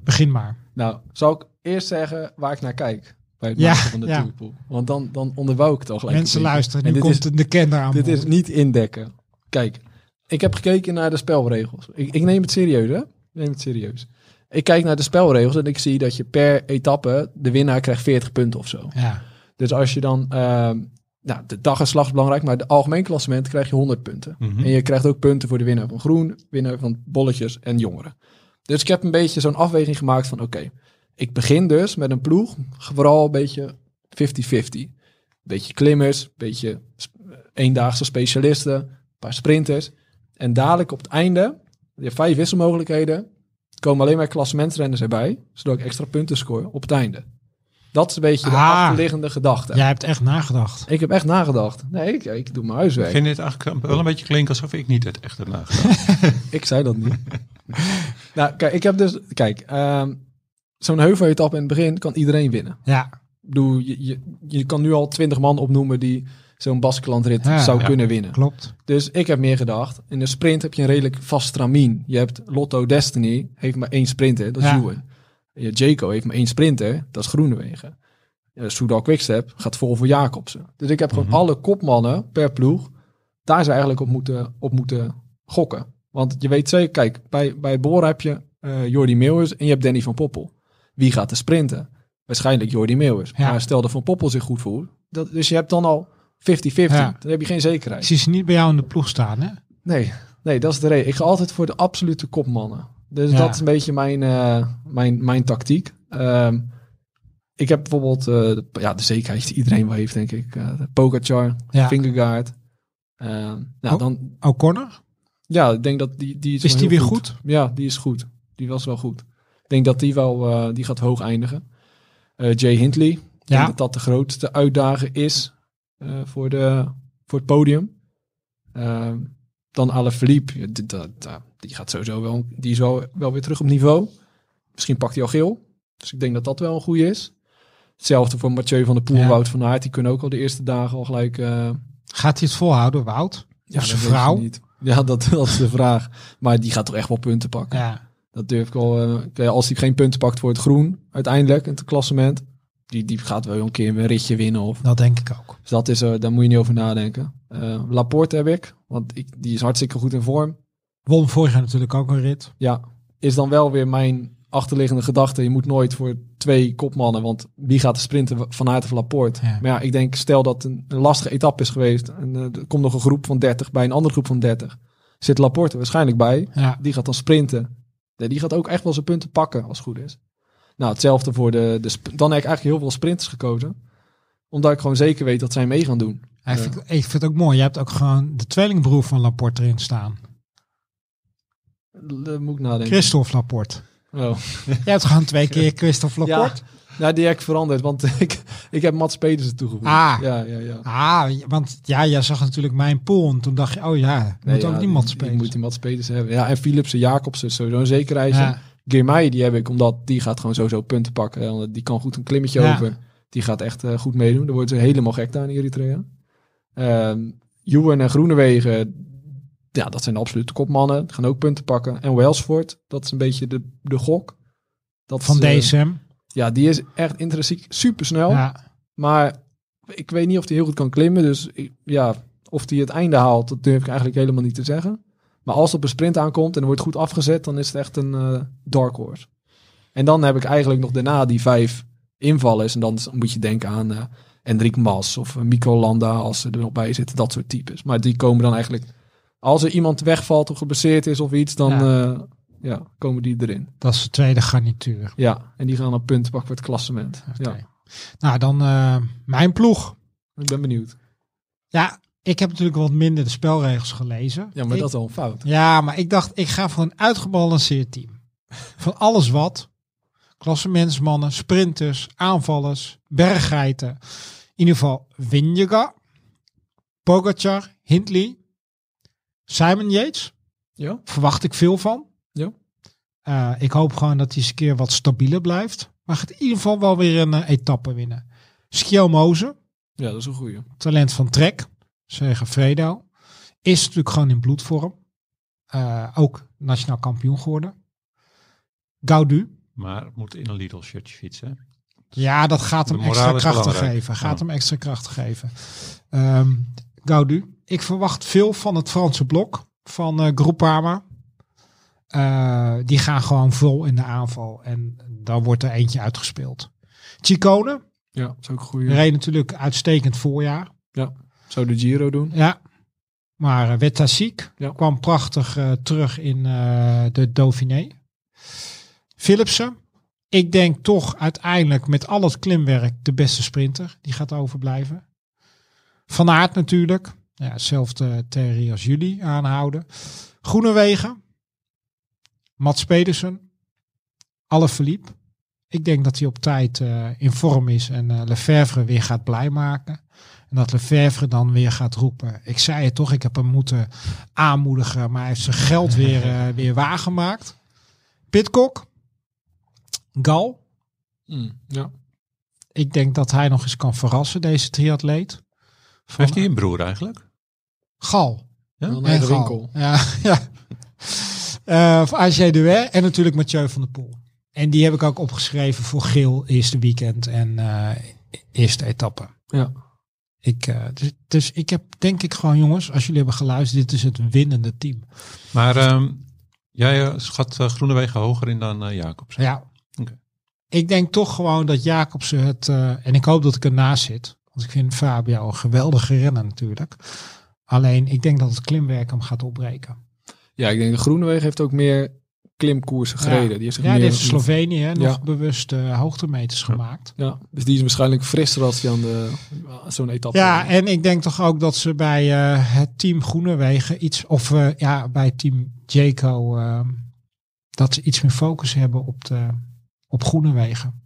[SPEAKER 1] begin maar.
[SPEAKER 3] Nou, zal ik eerst zeggen waar ik naar kijk bij het
[SPEAKER 1] Ja,
[SPEAKER 3] maken van de
[SPEAKER 1] ja.
[SPEAKER 3] tourpool. Want dan, dan onderbouw ik het al gelijk. een
[SPEAKER 1] Mensen
[SPEAKER 3] beetje.
[SPEAKER 1] luisteren,
[SPEAKER 3] En
[SPEAKER 1] nu
[SPEAKER 3] dit
[SPEAKER 1] komt de kender aan
[SPEAKER 3] is, dit
[SPEAKER 1] bod.
[SPEAKER 3] is niet indekken. Kijk, ik heb gekeken naar de spelregels. Ik, ik neem het serieus, hè? Ik neem het serieus. Ik kijk naar de spelregels en ik zie dat je per etappe, de winnaar krijgt 40 punten of zo.
[SPEAKER 1] Ja,
[SPEAKER 3] Dus als je dan, ehm, nou, de dagenslag is belangrijk, maar de algemeen klassement krijg je 100 punten.
[SPEAKER 2] Mhm.
[SPEAKER 3] En je krijgt ook punten voor de winnaar van groen, winnaar van bolletjes en jongeren. Dus ik heb een beetje zo'n afweging gemaakt van oké, ik begin dus met een ploeg, vooral een beetje 50-50. Beetje klimmers, beetje sp- eh, eendaagse specialisten, een paar sprinters. En dadelijk op het einde, je hebt vijf wisselmogelijkheden, komen alleen maar klassementrenners erbij, zodat ik extra punten score op het einde. Dat is een beetje de
[SPEAKER 1] Ah.
[SPEAKER 3] achterliggende gedachte.
[SPEAKER 1] jij hebt echt nagedacht.
[SPEAKER 3] Ik heb echt nagedacht. Nee, ik, ik doe mijn huiswerk.
[SPEAKER 2] Ik vind dit eigenlijk wel een beetje klinken alsof ik niet het echt heb nagedacht.
[SPEAKER 3] Ik zei dat niet. nou, kijk, ik heb dus... Kijk, ehm, zo'n heuveletappe in het begin kan iedereen winnen.
[SPEAKER 1] Ja,
[SPEAKER 3] Ik bedoel, je, je, je kan nu al twintig man opnoemen die zo'n Baskelandrit
[SPEAKER 1] Ja,
[SPEAKER 3] zou
[SPEAKER 2] ja.
[SPEAKER 3] kunnen winnen.
[SPEAKER 1] klopt.
[SPEAKER 3] Dus ik heb meer gedacht. In de sprint heb je een redelijk vast stramien. Je hebt Lotto Destiny, heeft maar één sprinter, dat is
[SPEAKER 1] Ja.
[SPEAKER 3] Juwen. Je Jaco heeft maar één sprinter, dat is Groenewegen. Eh, Soudal Quickstep gaat vol voor Jacobsen. Dus ik heb gewoon
[SPEAKER 2] Mhm.
[SPEAKER 3] alle kopmannen per ploeg. Daar zou eigenlijk op moeten, op moeten gokken. Want je weet zeker, kijk, bij, bij Bora heb je eh, Jordi Meeuwis en je hebt Danny van Poppel. Wie gaat er sprinten? Waarschijnlijk Jordi Meeuwis.
[SPEAKER 1] Ja.
[SPEAKER 3] Maar stel dat Van Poppel zich goed voelt. Dat, dus je hebt dan al 50-50.
[SPEAKER 1] Ja.
[SPEAKER 3] Dan heb je geen zekerheid.
[SPEAKER 1] Ik zie ze niet bij jou in de ploeg staan, hè?
[SPEAKER 3] Nee, nee, dat is de reden. Ik ga altijd voor de absolute kopmannen. Dus
[SPEAKER 1] Ja.
[SPEAKER 3] dat is een beetje mijn, eh, mijn, mijn tactiek. Ehm, ik heb bijvoorbeeld eh, de, ja, de zekerheid die iedereen wel heeft, denk ik. Eh Pogacar,
[SPEAKER 1] Ja.
[SPEAKER 3] Fingergaard. Ehm, nou,
[SPEAKER 1] Oh.
[SPEAKER 3] dan,
[SPEAKER 1] O'Connor?
[SPEAKER 3] ja, ik denk dat die, die is,
[SPEAKER 1] Is
[SPEAKER 3] wel
[SPEAKER 1] die
[SPEAKER 3] heel
[SPEAKER 1] weer goed?
[SPEAKER 3] Ja, die is goed. Die was wel goed. Ik denk dat die wel, eh, die gaat hoog eindigen. Eh, Jay Hindley, ik denk
[SPEAKER 1] Ja,
[SPEAKER 3] dat dat de grootste uitdaging is eh, voor, de, voor het podium. Eh, dan Alaphilippe, ja, d- dat- dat- die gaat sowieso wel, die is wel, wel weer terug op niveau. Misschien pakt hij al geel. Dus ik denk dat dat wel een goede is. Hetzelfde voor Mathieu van der Poel en
[SPEAKER 1] Ja.
[SPEAKER 3] Wout van Aert. Die kunnen ook al de eerste dagen al gelijk... eh,
[SPEAKER 1] Gaat hij het volhouden, Wout? zijn
[SPEAKER 3] ja, dat weet je
[SPEAKER 1] Dus vrouw?
[SPEAKER 3] niet. Ja, dat, dat is de vraag. Maar die gaat toch echt wel punten pakken.
[SPEAKER 1] Ja.
[SPEAKER 3] Dat durf ik al. als hij geen punten pakt voor het groen, uiteindelijk in het klassement, die, die gaat wel een keer een ritje winnen. Of,
[SPEAKER 1] Dat denk ik ook.
[SPEAKER 3] dus dat is, eh, daar moet je niet over nadenken. Eh, Laporte heb ik, want ik, die is hartstikke goed in vorm.
[SPEAKER 1] Won vorig jaar natuurlijk ook een rit.
[SPEAKER 3] Ja, is dan wel weer mijn achterliggende gedachte. Je moet nooit voor twee kopmannen, want wie gaat de sprinten vanuit of Laporte?
[SPEAKER 1] Ja.
[SPEAKER 3] Maar ja, ik denk, stel dat een, een lastige etappe is geweest en eh, er komt nog een groep van 30 bij een andere groep van 30. Zit Laporte er waarschijnlijk bij.
[SPEAKER 1] Ja.
[SPEAKER 3] Die gaat dan sprinten. Ja, Die gaat ook echt wel zijn punten pakken, als het goed is. Nou, hetzelfde voor de... de sp- dan heb ik eigenlijk heel veel sprinters gekozen. Omdat ik gewoon zeker weet dat zij mee gaan doen.
[SPEAKER 1] Hij vindt- Ik vind het ook mooi. Je hebt ook gewoon de tweelingbroer van Laporte erin staan.
[SPEAKER 3] L- eh, moet ik nadenken.
[SPEAKER 1] Christophe Laporte.
[SPEAKER 3] Oh.
[SPEAKER 1] Je hebt gewoon twee keer Christophe Laporte.
[SPEAKER 3] Nou, die heb ik veranderd, want ik, ik heb Mats Pedersen toegevoegd.
[SPEAKER 1] Ah.
[SPEAKER 3] Ja, ja, ja.
[SPEAKER 1] Ah, want ja, jij zag natuurlijk mijn pool. En toen dacht je, oh ja, ik moet ook
[SPEAKER 3] ja,
[SPEAKER 1] niemand
[SPEAKER 3] die- die
[SPEAKER 1] spelen.
[SPEAKER 3] moet die Mats Pedersen hebben. Ja, en Philipsen, Jacobsen, is sowieso een zekerheidje.
[SPEAKER 1] Ja.
[SPEAKER 3] Girmay, die heb ik, omdat die gaat gewoon sowieso punten pakken. hè, want Die kan goed een klimmetje
[SPEAKER 1] Ja.
[SPEAKER 3] over. Die gaat echt eh, goed meedoen. Daar wordt ze helemaal gek daar in Eritrea. Ehm Ewan en Groenewegen, ja, dat zijn de absolute kopmannen. Die gaan ook punten pakken. En Wellsford, dat is een beetje de, de gok. Dat
[SPEAKER 1] van
[SPEAKER 3] is, eh,
[SPEAKER 1] DSM.
[SPEAKER 3] Ja, die is echt intrinsiek supersnel.
[SPEAKER 1] Ja.
[SPEAKER 3] Maar ik weet niet of hij heel goed kan klimmen. Dus ik- ja, of hij het einde haalt, dat durf ik eigenlijk helemaal niet te zeggen. Maar als het op een sprint aankomt en er wordt goed afgezet, dan is het echt een eh, dark horse. En dan heb ik eigenlijk nog daarna die vijf invallers. En dan is- moet je denken aan eh Hendrik Mas of eh, Mico Landa als ze er nog bij zitten. Dat soort types. Maar die komen dan eigenlijk... Als er iemand wegvalt of geblesseerd is of iets, dan ja. ja, komen die erin.
[SPEAKER 1] Dat is de tweede garnituur.
[SPEAKER 3] Ja, en die gaan op punten pakken voor het klassement.
[SPEAKER 1] Oké.
[SPEAKER 3] Ja,
[SPEAKER 1] Nou, dan eh, mijn ploeg.
[SPEAKER 3] ik ben benieuwd.
[SPEAKER 1] Ja, ik heb natuurlijk wat minder de spelregels gelezen.
[SPEAKER 3] Ja, maar
[SPEAKER 1] Ik-
[SPEAKER 3] dat is al een fout.
[SPEAKER 1] Ja, maar ik dacht, ik ga voor een uitgebalanceerd team. Van alles wat. Klassementsmannen, sprinters, aanvallers, berggeiten. In ieder geval Winjega, Pogacar, Hindley, Simon Yates.
[SPEAKER 3] Ja.
[SPEAKER 1] Verwacht ik veel van.
[SPEAKER 3] Ja.
[SPEAKER 1] Eh, ik hoop gewoon dat hij eens een keer wat stabieler blijft. Maar gaat in ieder geval wel weer een eh, etappe winnen. Schielmozen,
[SPEAKER 3] Ja, dat is een goeie.
[SPEAKER 1] talent van Trek, zeggen Fredo, is natuurlijk gewoon in bloedvorm. Eh, ook nationaal kampioen geworden. Gaudu,
[SPEAKER 2] Maar moet in een Lidl shirtje fietsen. hè?
[SPEAKER 1] ja, dat gaat
[SPEAKER 2] De
[SPEAKER 1] hem
[SPEAKER 2] moraal
[SPEAKER 1] extra
[SPEAKER 2] is
[SPEAKER 1] krachten
[SPEAKER 2] belangrijk.
[SPEAKER 1] geven. Gaat
[SPEAKER 2] Ja.
[SPEAKER 1] hem extra krachten geven. Ehm Gaudu, ik verwacht veel van het Franse blok van eh Groupama. Eh, die gaan gewoon vol in de aanval. En dan wordt er eentje uitgespeeld. Chicone,
[SPEAKER 3] Ja, dat is ook een goeie.
[SPEAKER 1] reed natuurlijk uitstekend voorjaar.
[SPEAKER 3] Zou de Giro doen?
[SPEAKER 1] Ja. Maar uh, werd daar ziek.
[SPEAKER 3] Ja.
[SPEAKER 1] Kwam prachtig eh, terug in eh, de Dauphiné. Philipsen. Ik denk toch uiteindelijk met al het klimwerk de beste sprinter. Die gaat overblijven. Van Aert natuurlijk. Ja, hetzelfde theorie als jullie aanhouden. Groenewegen. Mats Pedersen. Alaphilippe. Ik denk dat hij op tijd eh, in vorm is en eh Lefevre weer gaat blij maken. En dat Lefevre dan weer gaat roepen. Ik zei het toch, ik heb hem moeten aanmoedigen, maar hij heeft zijn geld weer, eh, weer waargemaakt. Pitcock, Gal, Mm.
[SPEAKER 3] Ja.
[SPEAKER 1] ik denk dat hij nog eens kan verrassen, deze triatleet. Van-
[SPEAKER 2] Heeft hij een broer eigenlijk?
[SPEAKER 1] Gal.
[SPEAKER 2] Ja?
[SPEAKER 3] Dan een
[SPEAKER 1] Gal.
[SPEAKER 3] winkel.
[SPEAKER 1] Ja, ja. Eh, Van AG Duer en natuurlijk Mathieu van der Poel. En die heb ik ook opgeschreven voor Geel, eerste weekend en eh, eerste etappe.
[SPEAKER 3] Ja.
[SPEAKER 1] Ik, eh, dus, dus ik heb denk ik gewoon, jongens, als jullie hebben geluisterd, dit is het winnende team.
[SPEAKER 2] Maar ehm, jij eh, schat eh, Groenewegen hoger in dan eh, Jacobsen.
[SPEAKER 1] Ja.
[SPEAKER 2] Oké.
[SPEAKER 1] Ik denk toch gewoon dat Jacobsen het... eh, en ik hoop dat ik ernaast zit. Want ik vind Fabio een geweldige renner natuurlijk. Alleen, ik denk dat het klimwerk hem gaat opbreken.
[SPEAKER 3] ja, ik denk de Groenewegen heeft ook meer klimkoersen gereden. Die heeft zich
[SPEAKER 1] Ja, die
[SPEAKER 3] meer-
[SPEAKER 1] heeft Slovenië hè, nog
[SPEAKER 3] Ja.
[SPEAKER 1] bewust eh, hoogtemeters gemaakt.
[SPEAKER 3] Ja, dus die is waarschijnlijk frisser als die aan de, zo'n etappe.
[SPEAKER 1] Ja, en ik denk toch ook dat ze bij eh, het team Groenewegen iets... Of eh, ja, bij team Jaco... eh, dat ze iets meer focus hebben op, de, op Groenewegen.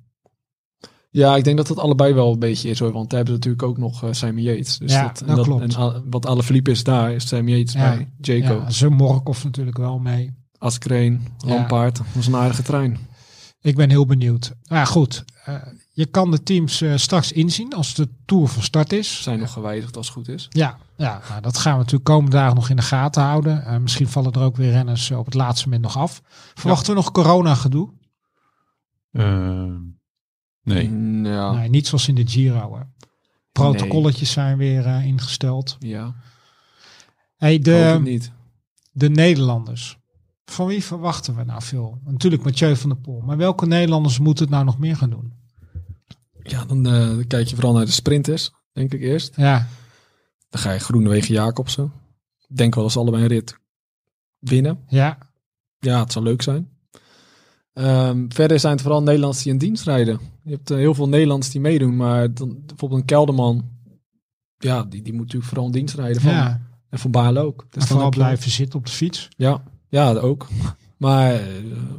[SPEAKER 3] Ja, ik denk dat dat allebei wel een beetje is hoor. Want daar hebben ze natuurlijk ook nog eh Simon Yates. Dus
[SPEAKER 1] Ja,
[SPEAKER 3] dat, en
[SPEAKER 1] dat klopt.
[SPEAKER 3] En Al- wat Alaphilippe is daar, is Simon Yates
[SPEAKER 1] Ja.
[SPEAKER 3] bij. Jaco,
[SPEAKER 1] Ja, ze Morkov natuurlijk wel mee.
[SPEAKER 3] Askreen,
[SPEAKER 1] Ja.
[SPEAKER 3] Lampaard. Dat was een aardige trein.
[SPEAKER 1] Ik ben heel benieuwd. Maar goed, eh, je kan de teams eh, straks inzien als de Tour van start
[SPEAKER 3] Ze
[SPEAKER 1] is.
[SPEAKER 3] zijn nog gewijzigd als het goed is.
[SPEAKER 1] Ja, ja nou, dat gaan we natuurlijk komende dagen nog in de gaten houden. Eh, misschien vallen er ook weer renners eh, op het laatste moment nog af. Verwachten we nog corona-gedoe?
[SPEAKER 2] Ehm, nee.
[SPEAKER 3] Mm, Ja.
[SPEAKER 1] Nee, niet zoals in de Giro. Hè. Protocolletjes zijn weer eh, ingesteld.
[SPEAKER 3] Ja,
[SPEAKER 1] Hey,
[SPEAKER 3] hoop het
[SPEAKER 1] de,
[SPEAKER 3] niet.
[SPEAKER 1] de Nederlanders. Van wie verwachten we nou veel? Natuurlijk Mathieu van der Poel. Maar welke Nederlanders moeten het nou nog meer gaan doen?
[SPEAKER 3] Ja, dan eh, kijk je vooral naar de sprinters, denk ik eerst.
[SPEAKER 1] Ja,
[SPEAKER 3] Dan ga je Groenewegen Jacobsen. Ik denk wel dat ze allebei een rit winnen.
[SPEAKER 1] ja.
[SPEAKER 3] Ja, het zou leuk zijn. Ehm, verder zijn het vooral Nederlanders die in dienst rijden. Je hebt eh, heel veel Nederlanders die meedoen, maar dan, bijvoorbeeld een Kelderman. Ja, die, die moet natuurlijk vooral in dienst rijden. Van,
[SPEAKER 1] ja.
[SPEAKER 3] En van Baarle ook.
[SPEAKER 1] Dus
[SPEAKER 3] dan
[SPEAKER 1] vooral
[SPEAKER 3] heb je-
[SPEAKER 1] blijven zitten op de fiets.
[SPEAKER 3] Ja, ja, ook. Maar eh,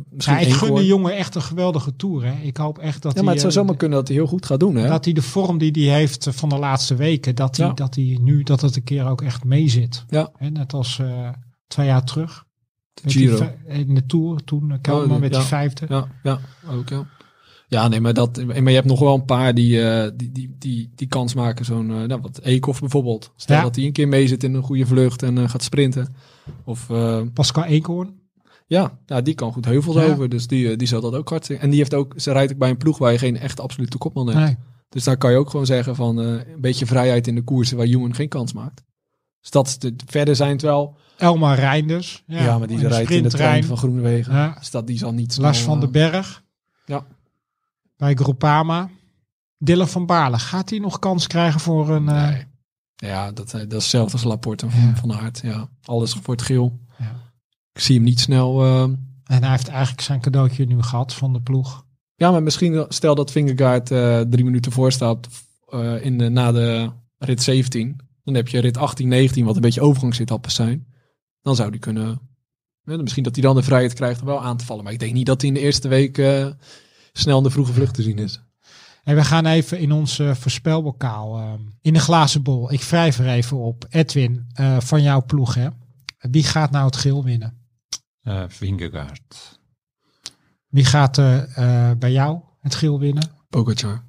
[SPEAKER 3] misschien
[SPEAKER 1] Ja, ik
[SPEAKER 3] één
[SPEAKER 1] gun
[SPEAKER 3] koor.
[SPEAKER 1] de jongen echt een geweldige tour. Hè. Ik hoop echt dat
[SPEAKER 3] Ja, maar het
[SPEAKER 1] hij,
[SPEAKER 3] zou
[SPEAKER 1] eh,
[SPEAKER 3] zomaar kunnen dat hij heel goed gaat doen, hè?
[SPEAKER 1] dat hij de vorm die hij heeft eh, van de laatste weken, dat hij,
[SPEAKER 3] Ja.
[SPEAKER 1] dat hij nu dat het een keer ook echt mee zit.
[SPEAKER 3] Ja.
[SPEAKER 1] Hè, net als eh, twee jaar terug. Met
[SPEAKER 3] Giro.
[SPEAKER 1] die vij- In de Tour, toen eh, Kelderman
[SPEAKER 3] Oh,
[SPEAKER 1] met
[SPEAKER 3] ja.
[SPEAKER 1] die vijfde.
[SPEAKER 3] Ja, ja, ook ja. Ja, nee, maar, dat, maar je hebt nog wel een paar die, eh, die, die, die, die kans maken. Zo'n, eh, nou, wat Eekhoff bijvoorbeeld. Stel
[SPEAKER 1] Ja.
[SPEAKER 3] dat hij een keer mee zit in een goede vlucht en eh, gaat sprinten. Of eh,
[SPEAKER 1] Pascal Eekhoorn.
[SPEAKER 3] ja, ja, die kan goed heuvels
[SPEAKER 1] Ja.
[SPEAKER 3] over. Dus die, eh, die zal dat ook hard En die heeft ook, ze rijdt ook bij een ploeg waar je geen echt absolute kopman hebt.
[SPEAKER 1] Nee.
[SPEAKER 3] Dus daar kan je ook gewoon zeggen van eh, een beetje vrijheid in de koersen waar Human geen kans maakt. Dus dat is de, verder zijn het wel.
[SPEAKER 1] Elmar Reinders. Ja,
[SPEAKER 3] Ja, maar die
[SPEAKER 1] en
[SPEAKER 3] rijdt in de trein
[SPEAKER 1] sprinttrein.
[SPEAKER 3] van Groenewegen.
[SPEAKER 1] Ja.
[SPEAKER 3] Dus dat die zal niet.
[SPEAKER 1] Lars
[SPEAKER 3] snel,
[SPEAKER 1] van den
[SPEAKER 3] eh,
[SPEAKER 1] Berg.
[SPEAKER 3] ja.
[SPEAKER 1] Bij Groupama. Dylan van Baarle. Gaat hij nog kans krijgen voor een... eh,
[SPEAKER 3] Nee. Ja, dat, eh, dat is hetzelfde als Laporte van,
[SPEAKER 1] Ja.
[SPEAKER 3] van Aert. Ja. Alles voor het geel.
[SPEAKER 1] Ja.
[SPEAKER 3] Ik zie hem niet snel. eh,
[SPEAKER 1] En hij heeft eigenlijk zijn cadeautje nu gehad van de ploeg.
[SPEAKER 3] ja, maar misschien stel dat Vingegaard eh, drie minuten voor staat eh, in de, na de rit 17. Dan heb je rit 18, 19, wat een beetje overgangsritappers zijn. Dan zou die kunnen... ja, misschien dat hij dan de vrijheid krijgt om wel aan te vallen. Maar ik denk niet dat hij in de eerste week eh, snel in de vroege vlucht te zien is.
[SPEAKER 1] En we gaan even in ons eh, voorspelbokaal. eh, in de glazen bol. Ik wrijf er even op. Edwin, eh, van jouw ploeg hè. Wie gaat nou het geel winnen?
[SPEAKER 2] Eh Vingegaard.
[SPEAKER 1] Wie gaat eh, eh, bij jou het geel winnen?
[SPEAKER 3] Pogacar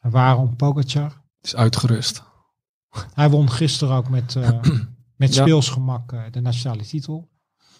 [SPEAKER 1] En waarom Pogacar?
[SPEAKER 3] is uitgerust.
[SPEAKER 1] Hij won gisteren ook met, eh met
[SPEAKER 3] Ja.
[SPEAKER 1] speelsgemak eh, de nationale titel.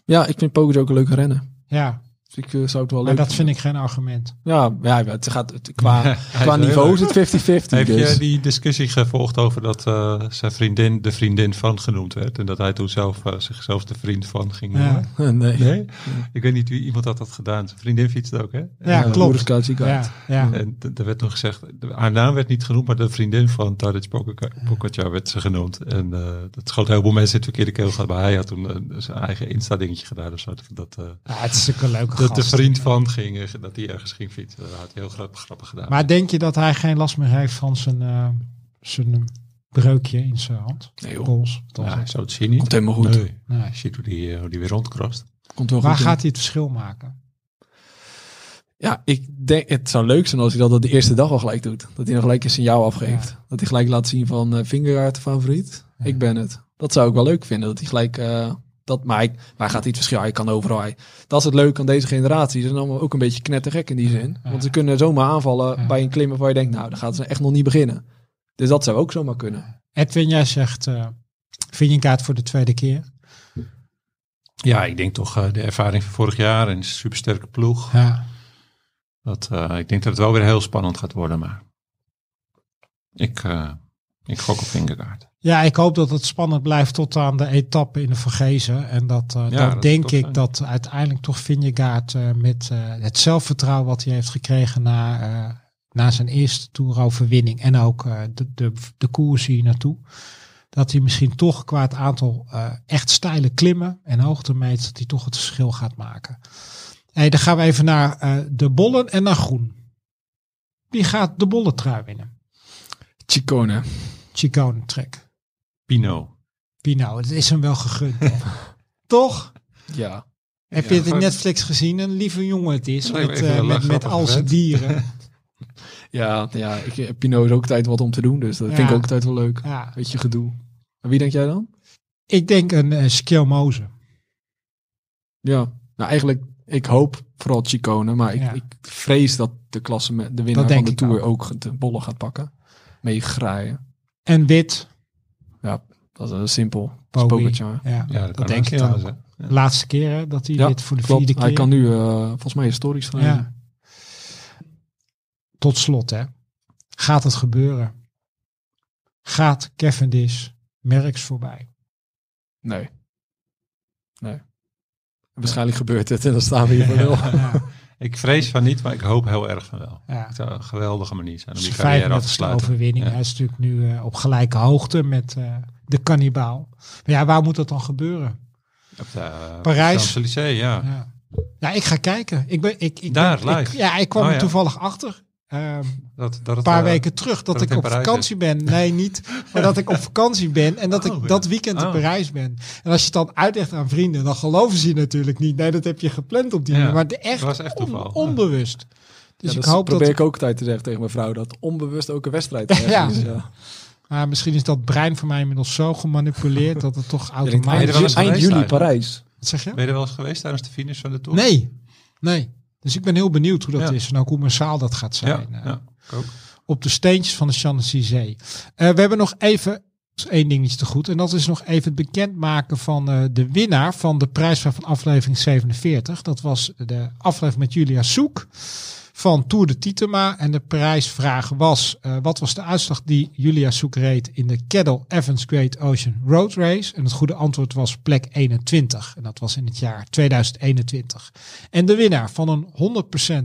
[SPEAKER 3] Ja, ik vind Pogacar ook een leuke renner.
[SPEAKER 1] Ja,
[SPEAKER 3] Dus ik eh, zou het wel
[SPEAKER 1] maar
[SPEAKER 3] leuk
[SPEAKER 1] dat vind ik geen argument.
[SPEAKER 3] Ja, ja het gaat het, qua,
[SPEAKER 2] Hij
[SPEAKER 3] qua
[SPEAKER 2] is
[SPEAKER 3] niveau
[SPEAKER 2] heel
[SPEAKER 3] is het 50-50.
[SPEAKER 2] Heb
[SPEAKER 3] dus.
[SPEAKER 2] je eh, die discussie gevolgd over dat eh, zijn vriendin de vriendin van genoemd werd? En dat hij toen zelf eh, zichzelf de vriend van ging
[SPEAKER 1] Ja.
[SPEAKER 2] noemen?
[SPEAKER 3] nee.
[SPEAKER 2] Nee? Ik weet niet wie iemand had dat gedaan. Zijn vriendin fietste ook, hè?
[SPEAKER 1] Ja,
[SPEAKER 3] Eh,
[SPEAKER 1] klopt.
[SPEAKER 3] Moerescout, Ziegaard.
[SPEAKER 1] Ja, ja.
[SPEAKER 2] En d- er werd nog gezegd, de- haar naam werd niet genoemd, maar de vriendin van Tadic Pogacar werd ze genoemd. En eh, dat schoot heel veel mensen in het verkeerde keel. Maar hij had toen eh, zijn eigen Insta-dingetje gedaan of zo. Dat, dat, eh,
[SPEAKER 1] Ja, het is natuurlijk een leuke
[SPEAKER 2] dat de
[SPEAKER 1] gast.
[SPEAKER 2] vriend van ging, eh, dat hij ergens ging fietsen. Dat had hij heel grappig, grappig gedaan.
[SPEAKER 1] Maar denk je dat hij geen last meer heeft van zijn, eh, zijn eh, breukje in zijn hand?
[SPEAKER 3] Nee, joh.
[SPEAKER 1] Pols.
[SPEAKER 2] ja,
[SPEAKER 1] Dat is het.
[SPEAKER 2] zo het zien niet.
[SPEAKER 3] Komt helemaal goed.
[SPEAKER 2] Nee,
[SPEAKER 1] Nee.
[SPEAKER 2] je ziet hoe die, eh, hoe die weer rondkrast.
[SPEAKER 3] Komt wel
[SPEAKER 1] Waar
[SPEAKER 3] goed in.
[SPEAKER 1] gaat hij het verschil maken?
[SPEAKER 3] Ja, ik denk, het zou leuk zijn als hij dat de eerste dag al gelijk doet. Dat hij nog gelijk een signaal afgeeft. Dat hij gelijk laat zien van eh Vingegaard de favoriet.
[SPEAKER 1] Ja.
[SPEAKER 3] Ik ben het. Dat zou ik wel leuk vinden. Dat hij gelijk... eh, dat, maar hij, waar gaat hij het verschil? Hij kan overal. Hij, dat is het leuke aan deze generatie. Ze zijn allemaal ook een beetje knettergek in die zin.
[SPEAKER 1] Ja.
[SPEAKER 3] Want ze kunnen zomaar aanvallen
[SPEAKER 1] Ja.
[SPEAKER 3] bij een klimmer waar je denkt... Nou, daar gaat ze echt nog niet beginnen. Dus dat zou ook zomaar kunnen.
[SPEAKER 1] Edwin, jij zegt eh Vingegaard voor de tweede keer.
[SPEAKER 2] Ja, ik denk toch eh, de ervaring van vorig jaar en een supersterke ploeg.
[SPEAKER 1] Ja.
[SPEAKER 2] Dat, eh, ik denk dat het wel weer heel spannend gaat worden, maar ik, eh, ik gok op Vingegaard.
[SPEAKER 1] ja, ik hoop dat het spannend blijft tot aan de etappe in de Vergezen. En dat, eh,
[SPEAKER 2] Ja,
[SPEAKER 1] dan
[SPEAKER 2] dat
[SPEAKER 1] denk
[SPEAKER 2] zou
[SPEAKER 1] ik
[SPEAKER 2] zijn.
[SPEAKER 1] dat uiteindelijk toch Vingegaard eh, met eh, het zelfvertrouwen wat hij heeft gekregen na, eh, na zijn eerste toeroverwinning. En ook eh, de, de, de koers hier naartoe. dat hij misschien toch qua het aantal eh, echt steile klimmen en hoogtemeters, dat hij toch het verschil gaat maken. Hey, dan gaan we even naar eh, de bollen en naar groen. Wie gaat de bollentrui winnen?
[SPEAKER 3] Chicone.
[SPEAKER 1] Chicone trek.
[SPEAKER 2] Pino.
[SPEAKER 1] Pino, nou? het is hem wel gegund. hè? toch?
[SPEAKER 3] Ja.
[SPEAKER 1] Heb je
[SPEAKER 2] Ja,
[SPEAKER 1] het in
[SPEAKER 2] gewoon-
[SPEAKER 1] Netflix gezien? Een lieve jongen het is.
[SPEAKER 2] Lijkt me
[SPEAKER 1] Met,
[SPEAKER 2] even
[SPEAKER 1] eh,
[SPEAKER 2] wel
[SPEAKER 1] met, met
[SPEAKER 2] grappig,
[SPEAKER 1] al zijn
[SPEAKER 2] hè?
[SPEAKER 1] dieren.
[SPEAKER 3] Ja, ja ik, eh, Pino is ook tijd wat om te doen, dus dat
[SPEAKER 1] Ja.
[SPEAKER 3] vind ik ook tijd wel leuk.
[SPEAKER 1] Ja.
[SPEAKER 3] Beetje gedoe. En wie denk jij dan?
[SPEAKER 1] Ik denk een uh, Skelmoze.
[SPEAKER 3] Ja, nou eigenlijk, ik hoop vooral Chicone, maar ik,
[SPEAKER 1] Ja.
[SPEAKER 3] ik vrees dat de, klasse, de winnaar
[SPEAKER 1] denk
[SPEAKER 3] van de
[SPEAKER 1] ik
[SPEAKER 3] Tour ook. de bollen gaat pakken. Mee graaien.
[SPEAKER 1] En wit.
[SPEAKER 3] Dat is eh, simpel.
[SPEAKER 1] Bowie.
[SPEAKER 3] Spokertje.
[SPEAKER 1] Ja.
[SPEAKER 2] Ja,
[SPEAKER 1] Dat denk ik ook.
[SPEAKER 2] wel.
[SPEAKER 1] Laatste keer hè, dat hij
[SPEAKER 3] Ja,
[SPEAKER 1] dit voor de
[SPEAKER 3] Klopt,
[SPEAKER 1] vierde keer.
[SPEAKER 3] hij kan nu eh, volgens mij historisch gaan.
[SPEAKER 1] Ja. Tot slot, hè. Gaat het gebeuren? Gaat Cavendish Merckx voorbij?
[SPEAKER 3] Nee. Nee. Waarschijnlijk gebeurt het en dan staan we hier voor wel.
[SPEAKER 1] Ja,
[SPEAKER 2] Ik vrees van niet, maar ik hoop heel erg van wel.
[SPEAKER 1] ja.
[SPEAKER 2] Het zou een geweldige manier zijn om
[SPEAKER 1] Dus
[SPEAKER 2] die
[SPEAKER 1] de
[SPEAKER 2] carrière af te
[SPEAKER 1] 35e
[SPEAKER 2] sluiten.
[SPEAKER 1] overwinning.
[SPEAKER 2] Ja.
[SPEAKER 1] Hij is natuurlijk nu eh, op gelijke hoogte met eh, de kannibaal. Maar ja, waar moet dat dan gebeuren?
[SPEAKER 2] Op de, eh,
[SPEAKER 1] Parijs.
[SPEAKER 2] Champs-Élysées, ja.
[SPEAKER 1] Ja, ja ik ga kijken. Ik ben, ik, ik,
[SPEAKER 2] Daar,
[SPEAKER 1] ik-
[SPEAKER 2] live.
[SPEAKER 1] ja, ik kwam
[SPEAKER 2] Oh,
[SPEAKER 1] er
[SPEAKER 2] ja.
[SPEAKER 1] toevallig achter. Ehm,
[SPEAKER 2] Dat, dat
[SPEAKER 1] een
[SPEAKER 2] het,
[SPEAKER 1] paar
[SPEAKER 2] eh,
[SPEAKER 1] weken terug dat,
[SPEAKER 2] dat
[SPEAKER 1] ik
[SPEAKER 2] het in
[SPEAKER 1] op
[SPEAKER 2] Parijs
[SPEAKER 1] vakantie ben. Nee, niet. Maar dat ik op vakantie ben en dat
[SPEAKER 2] Oh,
[SPEAKER 1] ik
[SPEAKER 2] ja.
[SPEAKER 1] dat weekend in
[SPEAKER 2] Oh.
[SPEAKER 1] Parijs ben. En als je het dan uitlegt aan vrienden, dan geloven ze je natuurlijk niet. Nee, dat heb je gepland op die
[SPEAKER 2] Ja,
[SPEAKER 1] manier. Maar de echt,
[SPEAKER 2] dat was echt
[SPEAKER 1] on-
[SPEAKER 2] toeval. Ja.
[SPEAKER 1] onbewust. Dus
[SPEAKER 3] Ja,
[SPEAKER 1] ik
[SPEAKER 3] dat
[SPEAKER 1] hoop
[SPEAKER 3] probeer
[SPEAKER 1] dat...
[SPEAKER 3] ik ook tijd te zeggen tegen mijn vrouw dat onbewust ook een wedstrijd ergens
[SPEAKER 1] Ja.
[SPEAKER 3] is. Ja.
[SPEAKER 1] Maar Ah, misschien is dat brein van mij inmiddels zo gemanipuleerd dat het toch
[SPEAKER 3] denkt,
[SPEAKER 1] automatisch...
[SPEAKER 2] Ben je er wel eens
[SPEAKER 3] eind,
[SPEAKER 2] geweest
[SPEAKER 3] eind juli
[SPEAKER 2] eigenlijk?
[SPEAKER 3] Parijs.
[SPEAKER 1] Wat zeg je?
[SPEAKER 2] Ben je er wel eens geweest tijdens de finish van de Tour?
[SPEAKER 1] Nee, nee. Dus ik ben heel benieuwd hoe dat
[SPEAKER 2] Ja.
[SPEAKER 1] is en ook hoe massaal dat gaat
[SPEAKER 2] Ja,
[SPEAKER 1] zijn. eh,
[SPEAKER 2] ja, ik ook.
[SPEAKER 1] Op de steentjes van de Champs-Élysées. Eh, we hebben nog even één dingetje te goed. En dat is nog even het bekendmaken van eh, de winnaar van de prijsvraag van aflevering 47. Dat was de aflevering met Julia Soek van Tour de Titema. En de prijsvraag was, eh, wat was de uitslag die Julia Soek reed in de Kettle Evans Great Ocean Road Race? En het goede antwoord was plek 21. En dat was in het jaar 2021. En de winnaar van een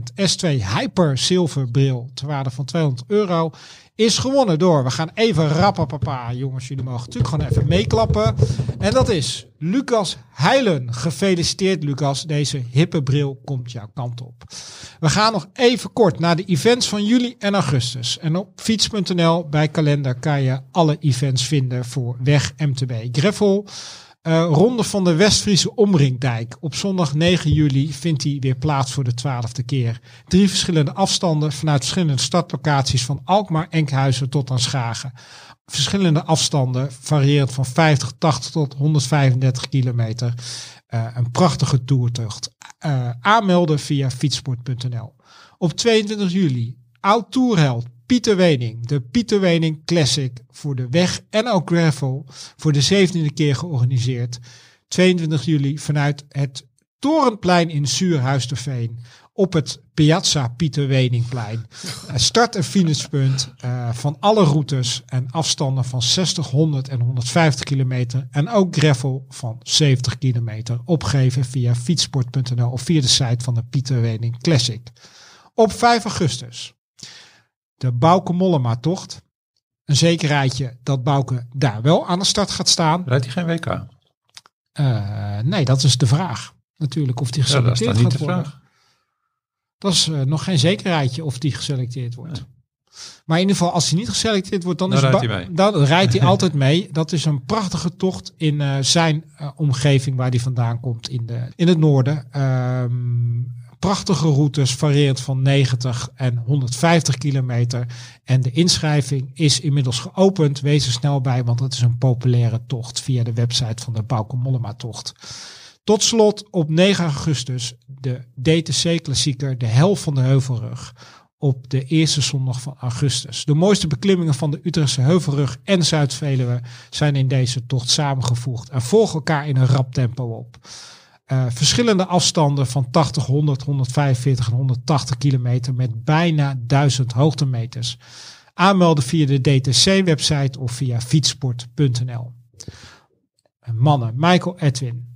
[SPEAKER 1] 100% S2 Hyper zilverbril ter waarde van 200 euro is gewonnen door, we gaan even rappen papa jongens, jullie mogen natuurlijk gewoon even meeklappen. En dat is Lucas Heilen. Gefeliciteerd Lucas, deze hippe bril komt jouw kant op. We gaan nog even kort naar de events van juli en augustus. En op fiets.nl bij kalender kan je alle events vinden voor weg MTB Greffel. Eh, Ronde van de Westfriese Omringdijk. Op zondag 9 juli vindt die weer plaats voor de twaalfde keer. Drie verschillende afstanden vanuit verschillende startlocaties van Alkmaar, Enkhuizen tot aan Schagen. Verschillende afstanden, variërend van 50, 80 tot 135 kilometer. Eh, een prachtige toertocht. Eh, aanmelden via fietsport.nl. Op 22 juli, oud toerheld Pieter Wening. De Pieter Wening Classic voor de weg en ook gravel. Voor de zeventiende keer georganiseerd. 22 juli vanuit het Torenplein in Zuurhuisterveen. Op het Piazza Pieter Weningplein. Eh, Start en finishpunt eh, van alle routes en afstanden van 60, 100 en 150 kilometer. En ook gravel van 70 kilometer. Opgeven via fietsport.nl of via de site van de Pieter Wening Classic. Op 5 augustus. De Bouke Mollema tocht. Een zekerheidje dat Bouke daar wel aan de start gaat staan.
[SPEAKER 2] Rijdt hij geen WK?
[SPEAKER 1] Eh, nee, dat is de vraag. Natuurlijk of die
[SPEAKER 2] Ja, dat is
[SPEAKER 1] geselecteerd
[SPEAKER 2] dan niet
[SPEAKER 1] gaat
[SPEAKER 2] de
[SPEAKER 1] worden.
[SPEAKER 2] vraag.
[SPEAKER 1] Dat is eh, nog geen zekerheidje of die geselecteerd wordt. Maar in ieder geval, als hij niet geselecteerd wordt, dan,
[SPEAKER 2] Dan
[SPEAKER 1] is het
[SPEAKER 2] rijdt
[SPEAKER 1] ba-
[SPEAKER 2] hij mee.
[SPEAKER 1] dan rijdt hij altijd mee. Dat is een prachtige tocht in eh, zijn eh, omgeving waar hij vandaan komt in, de, in het noorden. Ehm, prachtige routes, varieert van 90 en 150 kilometer. En de inschrijving is inmiddels geopend. Wees er snel bij, want het is een populaire tocht via de website van de Bauke Mollema tocht. Tot slot op 9 augustus de DTC-klassieker De Hel van de Heuvelrug op de eerste zondag van augustus. De mooiste beklimmingen van de Utrechtse Heuvelrug en Zuid-Veluwe zijn in deze tocht samengevoegd en volgen elkaar in een rap tempo op. Eh, verschillende afstanden van 80, 100, 145 en 180 kilometer met bijna 1000 hoogtemeters. Aanmelden via de DTC-website of via fietsport.nl. En Eh, Mannen, Michael Edwin,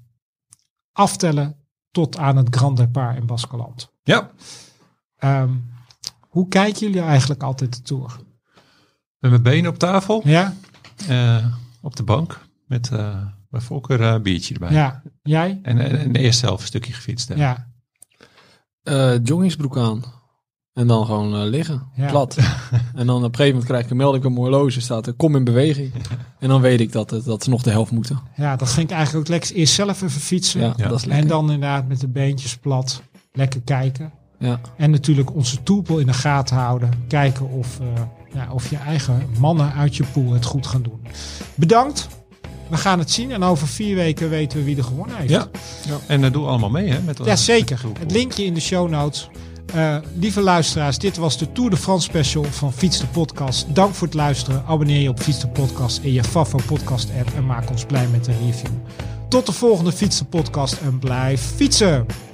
[SPEAKER 1] aftellen tot aan het Grand Depart in Baskeland.
[SPEAKER 2] Ja,
[SPEAKER 1] Ehm, hoe kijken jullie eigenlijk altijd de tour?
[SPEAKER 2] met mijn benen op tafel,
[SPEAKER 1] Ja,
[SPEAKER 2] eh, op de bank, met eh bij voorkeur eh, een biertje erbij.
[SPEAKER 1] ja. jij?
[SPEAKER 2] En, en, en de eerste helft een stukje gefietst. hè.
[SPEAKER 1] Ja,
[SPEAKER 3] Eh, joggingsbroek aan. En dan gewoon eh, liggen,
[SPEAKER 1] Ja.
[SPEAKER 3] plat. en dan op een gegeven moment krijg ik een melding op mijn horloge, staat er kom in beweging. En dan weet ik dat, het- dat ze nog de helft moeten.
[SPEAKER 1] ja, dat vind ik eigenlijk ook lekker. Eerst zelf even fietsen.
[SPEAKER 3] Ja,
[SPEAKER 2] Ja.
[SPEAKER 3] dat is
[SPEAKER 1] en
[SPEAKER 3] lekker.
[SPEAKER 1] dan inderdaad met de beentjes plat. Lekker kijken.
[SPEAKER 3] Ja.
[SPEAKER 1] En natuurlijk onze toepel in de gaten houden. Kijken of, eh, ja, of je eigen mannen uit je pool het goed gaan doen. Bedankt. We gaan het zien. En over vier weken weten we wie er gewonnen heeft.
[SPEAKER 2] Ja. En eh, doe allemaal mee, hè? Met,
[SPEAKER 1] Ja, zeker.
[SPEAKER 2] met-
[SPEAKER 1] Het linkje in de show notes. Eh, lieve luisteraars, dit was de Tour de France special van Fiets de Podcast. Dank voor het luisteren. Abonneer je op Fiets de Podcast in je Favo podcast app en maak ons blij met een review. Tot de volgende Fiets de Podcast en blijf fietsen!